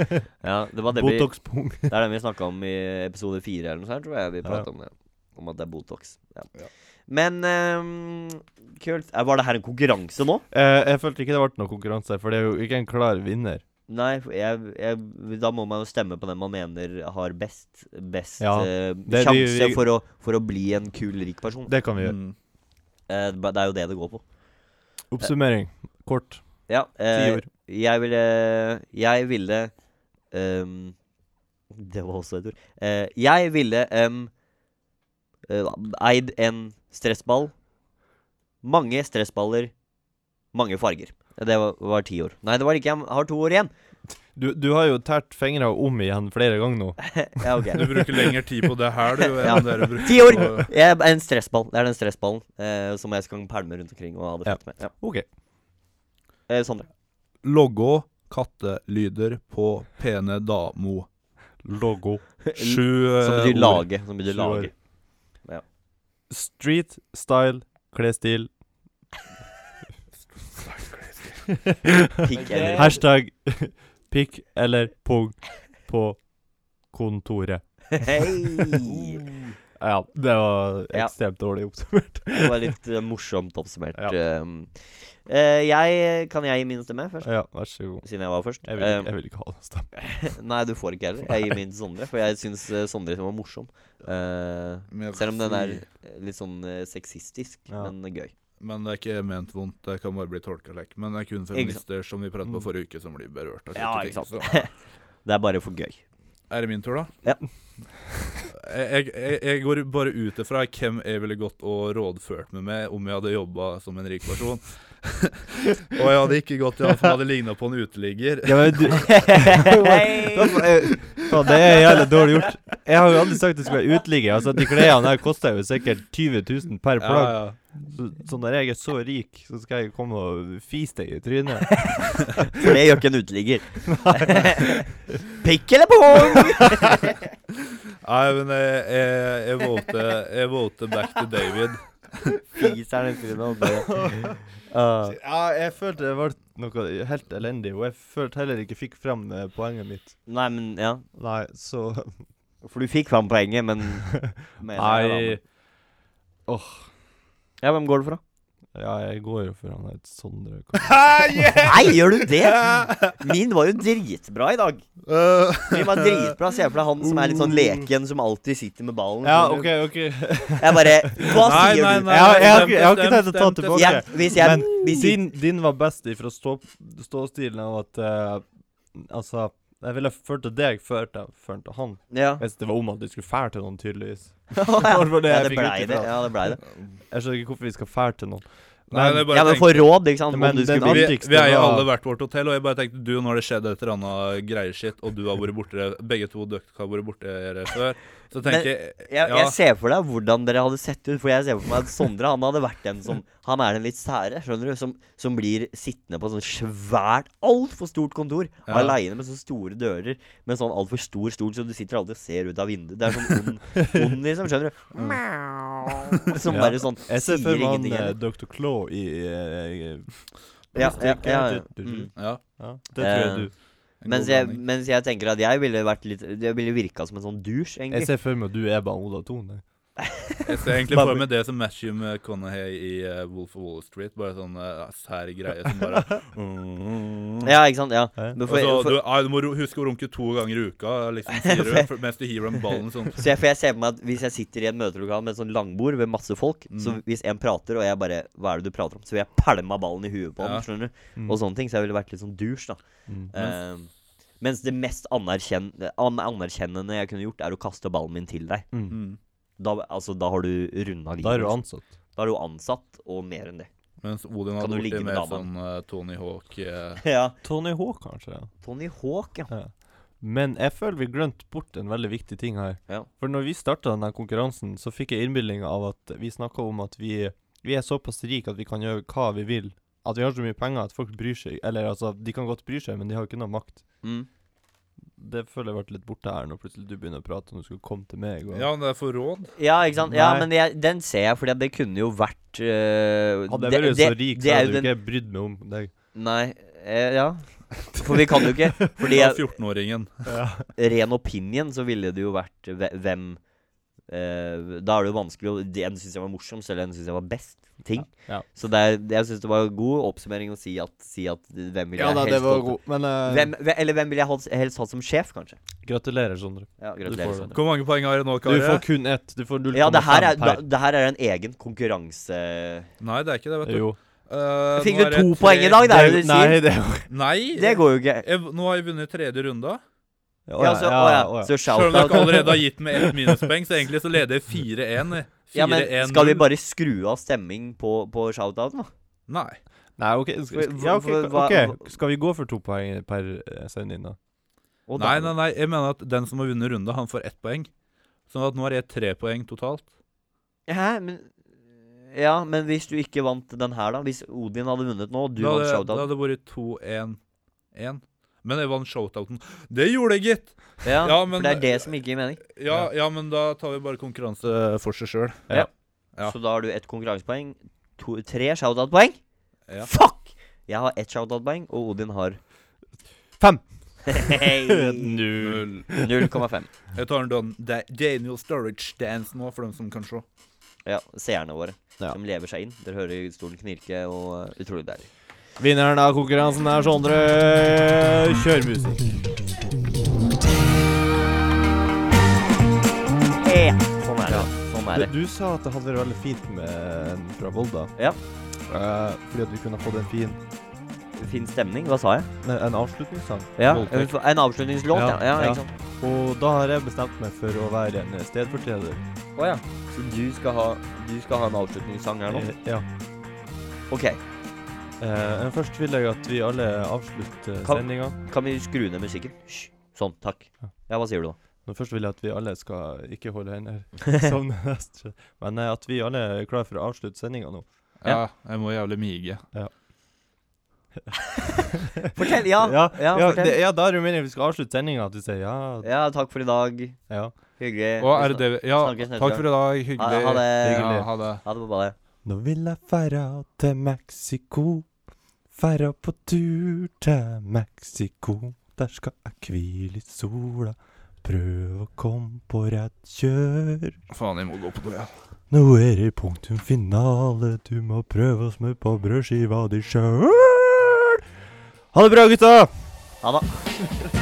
Speaker 1: Ja, det var det vi
Speaker 2: Botox-pung.
Speaker 1: Det er den vi snakka om i episode fire eller noe sånt, tror jeg vi
Speaker 2: Ja.
Speaker 1: prata om det. Om at det er Botox. Ja.
Speaker 3: Ja.
Speaker 1: Men ehm, kult. Eh, Var det her en konkurranse nå?
Speaker 2: Eh, jeg følte ikke det ble noen konkurranse, for det er jo ikke en klar vinner.
Speaker 1: Nei, for jeg, jeg, da må man jo stemme på den man mener har best Best
Speaker 2: Ja,
Speaker 1: eh,
Speaker 2: det-
Speaker 1: sjanse
Speaker 2: vi- vi-
Speaker 1: for, å, for å bli en kul, rik person.
Speaker 2: Det kan vi gjøre.
Speaker 3: Mm.
Speaker 1: Eh, ba- det er jo det det går på.
Speaker 2: Oppsummering. Kort.
Speaker 1: Ja.
Speaker 2: Ti
Speaker 1: eh,
Speaker 2: ord.
Speaker 1: jeg ville Jeg ville ehm, Det var også et ord. Eh, jeg ville ehm, eh, eid en stressball. Mange stressballer, mange farger. Det var, var ti år. Nei, det var det ikke. Jeg har to år igjen.
Speaker 2: Du, du har jo tært fingra om igjen flere ganger nå.
Speaker 1: ja, ok.
Speaker 3: Du bruker lengre tid på det her, du, enn
Speaker 1: Ja.
Speaker 3: dere bruker
Speaker 1: Ti år!
Speaker 3: på-
Speaker 1: Jeg, en stressball. Det er den stressballen eh, som jeg skal pælme rundt omkring og ha det
Speaker 2: Ja.
Speaker 1: fett med. Ja.
Speaker 2: OK.
Speaker 1: Eh, Sondre.
Speaker 3: Logge kattelyder på pene damo.
Speaker 2: Logo.
Speaker 3: Sju eh,
Speaker 1: Som betyr
Speaker 3: ord.
Speaker 1: lage. Som betyr
Speaker 2: Sju år.
Speaker 1: lage.
Speaker 2: Street style klesstil.
Speaker 1: Pikk eller
Speaker 2: Hashtag pikk eller pung på kontoret.
Speaker 1: Hei!
Speaker 2: Ja, det var
Speaker 1: Ja.
Speaker 2: ekstremt dårlig oppsummert.
Speaker 1: Det var litt eh, morsomt oppsummert.
Speaker 2: Ja.
Speaker 1: Um, eh, jeg, kan jeg gi min stemme først?
Speaker 2: Ja, vær så god.
Speaker 1: Siden jeg var først.
Speaker 2: Jeg vil,
Speaker 1: Um,
Speaker 2: jeg vil ikke ha noen stemme.
Speaker 1: nei, du får ikke heller. Jeg gir min til Sondre, for jeg syns uh, Sondre var morsom. Eh,
Speaker 3: Men jeg vil
Speaker 1: selv om den er
Speaker 3: si-
Speaker 1: eh, litt sånn eh, sexistisk,
Speaker 2: Ja.
Speaker 1: men gøy.
Speaker 3: Men det er ikke ment vondt, det kan bare bli tolka lek. Men det er kun feminister som vi pratet på
Speaker 2: Mm.
Speaker 3: forrige uke, som blir berørt av
Speaker 1: Ja,
Speaker 3: slike
Speaker 1: ikke
Speaker 3: ting.
Speaker 1: sant. det er bare for gøy.
Speaker 3: Så er det min tur, da?
Speaker 1: Ja.
Speaker 3: Jeg, jeg, jeg går bare ut ifra hvem jeg ville gått og rådført meg med om jeg hadde jobba som en rik person. og jeg hadde ikke gått til han som hadde ligna på en uteligger.
Speaker 2: Ja, men du, Faen, det er jævlig dårlig gjort. Jeg har jo aldri sagt det skulle være uteligger. Altså, de klærne her koster jo sikkert 20 000 per
Speaker 3: Ja,
Speaker 2: plagg.
Speaker 3: ja.
Speaker 2: Så, så når jeg er så rik, så skal jeg komme og fise deg i trynet.
Speaker 1: For det gjør ikke en uteligger. Pikk eller pung?
Speaker 3: Nei, men jeg, jeg, jeg, voter, jeg voter back to David.
Speaker 1: Fiser den i trynet og bare Ah.
Speaker 2: Ja, jeg følte det ble noe helt elendig, og jeg følte heller ikke fikk fram eh, poenget mitt.
Speaker 1: Nei, men ja.
Speaker 2: Nei, så
Speaker 1: For du fikk fram poenget, men men-
Speaker 2: Nei.
Speaker 1: Ja, hvem går det fra?
Speaker 2: Ja, jeg går jo sånn for han der Sondre.
Speaker 1: Nei, gjør du det? Min var jo dritbra i dag.
Speaker 2: Eh,
Speaker 1: Min var dritbra, Se for deg han som er litt sånn leken, som alltid sitter med ballen.
Speaker 2: Ja, OK, OK.
Speaker 1: Jeg bare Hva
Speaker 3: Nei,
Speaker 1: sier
Speaker 3: nei,
Speaker 1: du?
Speaker 3: nei.
Speaker 2: Jeg har, jeg har, ikke- jeg har ikke
Speaker 3: Stemt,
Speaker 2: tenkt å ta
Speaker 3: stemt,
Speaker 2: tilbake.
Speaker 1: Jeg, hvis jeg
Speaker 2: Men
Speaker 1: hvis
Speaker 2: din, din var best ifra stå, ståstilen av at eh, Altså, jeg ville ført til deg før jeg ført til han.
Speaker 1: Ja.
Speaker 2: Hvis det var om at du skulle fære til noen, tydeligvis.
Speaker 1: ja,
Speaker 2: var det
Speaker 1: ja,
Speaker 2: jeg
Speaker 1: det
Speaker 2: fikk
Speaker 1: blei
Speaker 2: ut
Speaker 1: det.
Speaker 2: ifra.
Speaker 1: Ja, det blei det.
Speaker 2: Jeg skjønner ikke hvorfor vi skal fære til noen.
Speaker 3: Nei, det er bare
Speaker 1: Ja, men
Speaker 3: tenk-
Speaker 1: for råd, ikke sant?
Speaker 2: Men
Speaker 1: Om du
Speaker 2: den
Speaker 1: skulle bli
Speaker 2: andre-
Speaker 3: vi,
Speaker 2: viktigste
Speaker 3: vi er i
Speaker 2: var-
Speaker 3: alle hvert vårt hotell, og jeg bare tenkte du, nå har det skjedd et eller annet greier og du har vært borte det- Begge to dere har vært borte dere før. Så
Speaker 1: Men
Speaker 3: tenker jeg
Speaker 1: jeg,
Speaker 3: ja,
Speaker 1: jeg ser for deg hvordan dere hadde sett ut. For jeg ser for meg at Sondre han hadde vært den som Han er den litt sære, skjønner du, som, som blir sittende på sånn svært, altfor stort kontor.
Speaker 3: Ja.
Speaker 1: Alene Aleine med så store dører, med sånn altfor stor stol, så du sitter aldri og ser ut av vinduet. Det er sånn ond, ond liksom, skjønner du. Mjau. Som
Speaker 2: Ja.
Speaker 1: bare sånn
Speaker 2: Jeg ser
Speaker 1: sier
Speaker 2: for meg han
Speaker 1: ingenting.
Speaker 2: eh,
Speaker 1: heller.
Speaker 2: Dr. Claw i eh,
Speaker 1: Ja, ja,
Speaker 2: Mystic,
Speaker 1: ja,
Speaker 2: eh,
Speaker 1: ja.
Speaker 2: du- du-
Speaker 1: Mm.
Speaker 3: ja,
Speaker 2: ja, Det tror jeg
Speaker 1: Eh,
Speaker 2: du
Speaker 3: en
Speaker 1: Mens
Speaker 3: god
Speaker 1: jeg,
Speaker 3: blanding.
Speaker 1: mens jeg tenker at jeg ville vært litt Jeg ville virka som en sånn douche,
Speaker 2: Jeg
Speaker 1: egentlig.
Speaker 2: ser for meg at du er bare Ola Thon. jeg.
Speaker 3: jeg ser egentlig for meg det som matcher med Conahay i eh, Wolf of Wall Street. Bare sånn uh, sær greie som bare
Speaker 1: Ja, ikke sant? Ja.
Speaker 2: Eh?
Speaker 1: Men
Speaker 3: Og
Speaker 1: for,
Speaker 3: så,
Speaker 1: for,
Speaker 3: du, ah, du må ru- huske å runke to ganger i uka liksom, sier du, for- mens du hiver den ballen sånn.
Speaker 1: Så jeg, for jeg ser på meg at Hvis jeg sitter i en møtelokal med et sånn langbord ved masse folk, så
Speaker 3: Mm.
Speaker 1: hvis en prater, og jeg bare Hva er det du prater om? Så vil jeg pælma ballen i huet på ham,
Speaker 3: Ja.
Speaker 1: skjønner du?
Speaker 2: Mm.
Speaker 1: Og sånne ting. Så jeg ville vært litt sånn douche, da.
Speaker 2: Mm.
Speaker 1: Ehm, mens det mest anerkjenn an anerkjennende jeg kunne gjort, er å kaste ballen min til deg.
Speaker 2: Mm.
Speaker 3: Mm.
Speaker 1: Da, altså, da har du runda livet.
Speaker 2: Da er du
Speaker 1: liksom.
Speaker 2: ansatt.
Speaker 1: Da er du ansatt, og mer enn det.
Speaker 3: Mens Odin
Speaker 1: Kan
Speaker 3: hadde
Speaker 1: du ligge
Speaker 3: borti
Speaker 1: med
Speaker 3: mer
Speaker 1: damen?
Speaker 3: sånn eh, Tony Hawk eh,
Speaker 1: Ja.
Speaker 2: Tony H, kanskje. ja.
Speaker 1: Tony Hawk, ja.
Speaker 2: Ja. Men jeg føler vi glemte bort en veldig viktig ting her.
Speaker 1: Ja.
Speaker 2: For når vi starta denne konkurransen, så fikk jeg innbilning av at vi snakka om at vi, vi er såpass rike at vi kan gjøre hva vi vil. At vi har så mye penger at folk bryr seg. Eller altså, de kan godt bry seg, men de har ikke noe makt.
Speaker 1: Mm.
Speaker 2: Det føler jeg ble litt borte her når plutselig du begynner å prate om du skulle komme til meg. Og
Speaker 3: Ja, det er for råd.
Speaker 1: Ja, ikke sant? Ja,
Speaker 2: Nei.
Speaker 1: men jeg, den ser jeg, fordi at det kunne jo vært øh,
Speaker 2: Hadde jeg
Speaker 1: det-
Speaker 2: vært
Speaker 1: det-
Speaker 2: så rik,
Speaker 1: det
Speaker 2: så
Speaker 1: er
Speaker 2: hadde
Speaker 1: jo
Speaker 2: du
Speaker 1: den-
Speaker 2: ikke brydd meg om deg.
Speaker 1: Nei, eh, ja. For vi kan jo ikke. Fordi
Speaker 3: Fra
Speaker 1: jeg,
Speaker 3: 14-åringen.
Speaker 1: ren opinion så ville det jo vært hve- hvem eh, Da er det jo vanskelig å En syns jeg var morsomst, eller en syns jeg var best. Ting.
Speaker 2: Ja, ja.
Speaker 1: Så det er, jeg syns det var en god oppsummering å si at, si at hvem ville jeg helst hatt-
Speaker 2: god. Men eh,
Speaker 1: Hvem, hve- eller hvem ville jeg hatt- helst hatt som sjef, kanskje?
Speaker 2: gratulerer, Sondre.
Speaker 1: Ja,
Speaker 2: får
Speaker 1: gratulerer.
Speaker 2: den.
Speaker 1: Sondre.
Speaker 3: Hvor mange poeng har jeg nå,
Speaker 2: Du
Speaker 3: Kari?
Speaker 2: får kun ett. Du får 0,5
Speaker 1: Ja, det her, er, da,
Speaker 2: per.
Speaker 1: det her er en egen konkurranse...
Speaker 3: Nei, det er ikke det, vet du.
Speaker 2: Jo.
Speaker 3: Eh,
Speaker 1: Fikk
Speaker 3: nå
Speaker 1: du
Speaker 3: er det
Speaker 1: to
Speaker 3: tre-
Speaker 1: poeng i dag? Det er jo det du
Speaker 2: nei,
Speaker 1: sier.
Speaker 2: det
Speaker 3: Nei.
Speaker 1: Det går jo ikke.
Speaker 3: Jeg, nå har jeg vunnet tredje runde.
Speaker 1: Ja, så, å, ja. så
Speaker 3: Selv om dere
Speaker 1: shout-out.
Speaker 3: allerede har gitt meg ett minuspoeng, så egentlig så leder jeg 4-1.
Speaker 1: Ja, men
Speaker 3: 4-1-0.
Speaker 1: skal vi bare skru av stemming på, på shout-outen, da?
Speaker 3: Nei.
Speaker 2: Nei, OK. Skal,
Speaker 1: Hva-
Speaker 2: ja, ok,
Speaker 1: hva-
Speaker 2: ok.
Speaker 1: hva-
Speaker 2: skal vi gå for to poeng per eh, sending, da?
Speaker 1: Og
Speaker 3: nei,
Speaker 1: da-
Speaker 3: nei, nei. Jeg mener at den som har vunnet runde, han får ett poeng. Sånn at nå har jeg tre poeng totalt.
Speaker 1: Hæ, men Ja, men hvis du ikke vant den her, da? Hvis Odin hadde vunnet nå, og du
Speaker 3: da
Speaker 1: vant
Speaker 3: hadde, da
Speaker 1: shout-out
Speaker 3: hadde det vært 2-1-1. Men jeg vant shoutouten. Det gjorde jeg, gitt!
Speaker 1: ja,
Speaker 3: ja, men-
Speaker 1: For det er det som ikke gir mening.
Speaker 3: Ja, ja, men da tar vi bare konkurranse for seg sjøl. Ja.
Speaker 1: Så da har du ett konkurransepoeng, to, tre shout-out-poeng.
Speaker 3: Ja.
Speaker 1: Fuck! Jeg har ett shout-out-poeng, og Odin har
Speaker 2: Fem.
Speaker 1: Hei.
Speaker 2: Null.
Speaker 1: 0,5.
Speaker 3: Jeg tar en Dan Da- Daniel Sturridge dance nå, for dem som kan se.
Speaker 1: Ja, seerne våre.
Speaker 2: Ja.
Speaker 1: Som lever seg inn. Dere hører stolen knirke, og uh, utrolig deilig.
Speaker 2: Vinneren av konkurransen er Sondre. Kjør musikk.
Speaker 1: Eh, Sånn er det. Sånn er det.
Speaker 2: Du, du sa at det hadde vært veldig fint med en fra Volda.
Speaker 1: Ja.
Speaker 2: Eh, fordi at du kunne fått en fin
Speaker 1: Fin stemning. Hva sa jeg?
Speaker 2: Nei, en avslutningssang.
Speaker 1: Ja,
Speaker 2: Voldtekt.
Speaker 1: en, en avslutningslåt, ja. ja,
Speaker 2: Ja, ja.
Speaker 1: Ikke sant?
Speaker 2: Og da har jeg bestemt meg for å være en stedfortreder.
Speaker 1: Å ja. Så du skal, ha, du skal ha en avslutningssang her nå?
Speaker 2: Eh, ja.
Speaker 1: OK.
Speaker 2: Eh, men først vil jeg at vi alle avslutter eh,
Speaker 1: Kan-
Speaker 2: sendinga.
Speaker 1: Kan vi skru ned musikken? Hysj. Sånn. Takk.
Speaker 2: Ja.
Speaker 1: Ja, hva sier du da?
Speaker 2: Men først vil jeg at vi alle skal ikke holde hender. Sovne mest. Men eh, at vi alle er klar for å avslutte sendinga nå.
Speaker 3: Ja, jeg må jævlig mige.
Speaker 1: Fortell! Ja.
Speaker 2: ja,
Speaker 1: ja,
Speaker 2: ja,
Speaker 1: fortell.
Speaker 2: det, ja da er det meningen vi skal avslutte sendinga, at vi sier ja.
Speaker 1: Ja, takk for i dag.
Speaker 2: ja.
Speaker 1: Hyggelig.
Speaker 3: Og er det det Eh, vi Ja,
Speaker 1: Snakkes neste
Speaker 3: takk for i dag.
Speaker 1: Ha, ha
Speaker 3: Hyggelig.
Speaker 1: det.
Speaker 3: Ja, ha det.
Speaker 1: Ha det på badet.
Speaker 2: Nå vil jeg færa til Mexico. Færa på tur til Mexico. Der skal jeg hvile i sola. Prøve å komme på rett kjør.
Speaker 3: Faen, jeg må gå på do, ja.
Speaker 2: Nå er det punktum finale. Du må prøve å smøre på brødskiva di sjøl. Ha det bra, gutta!
Speaker 1: Ha det.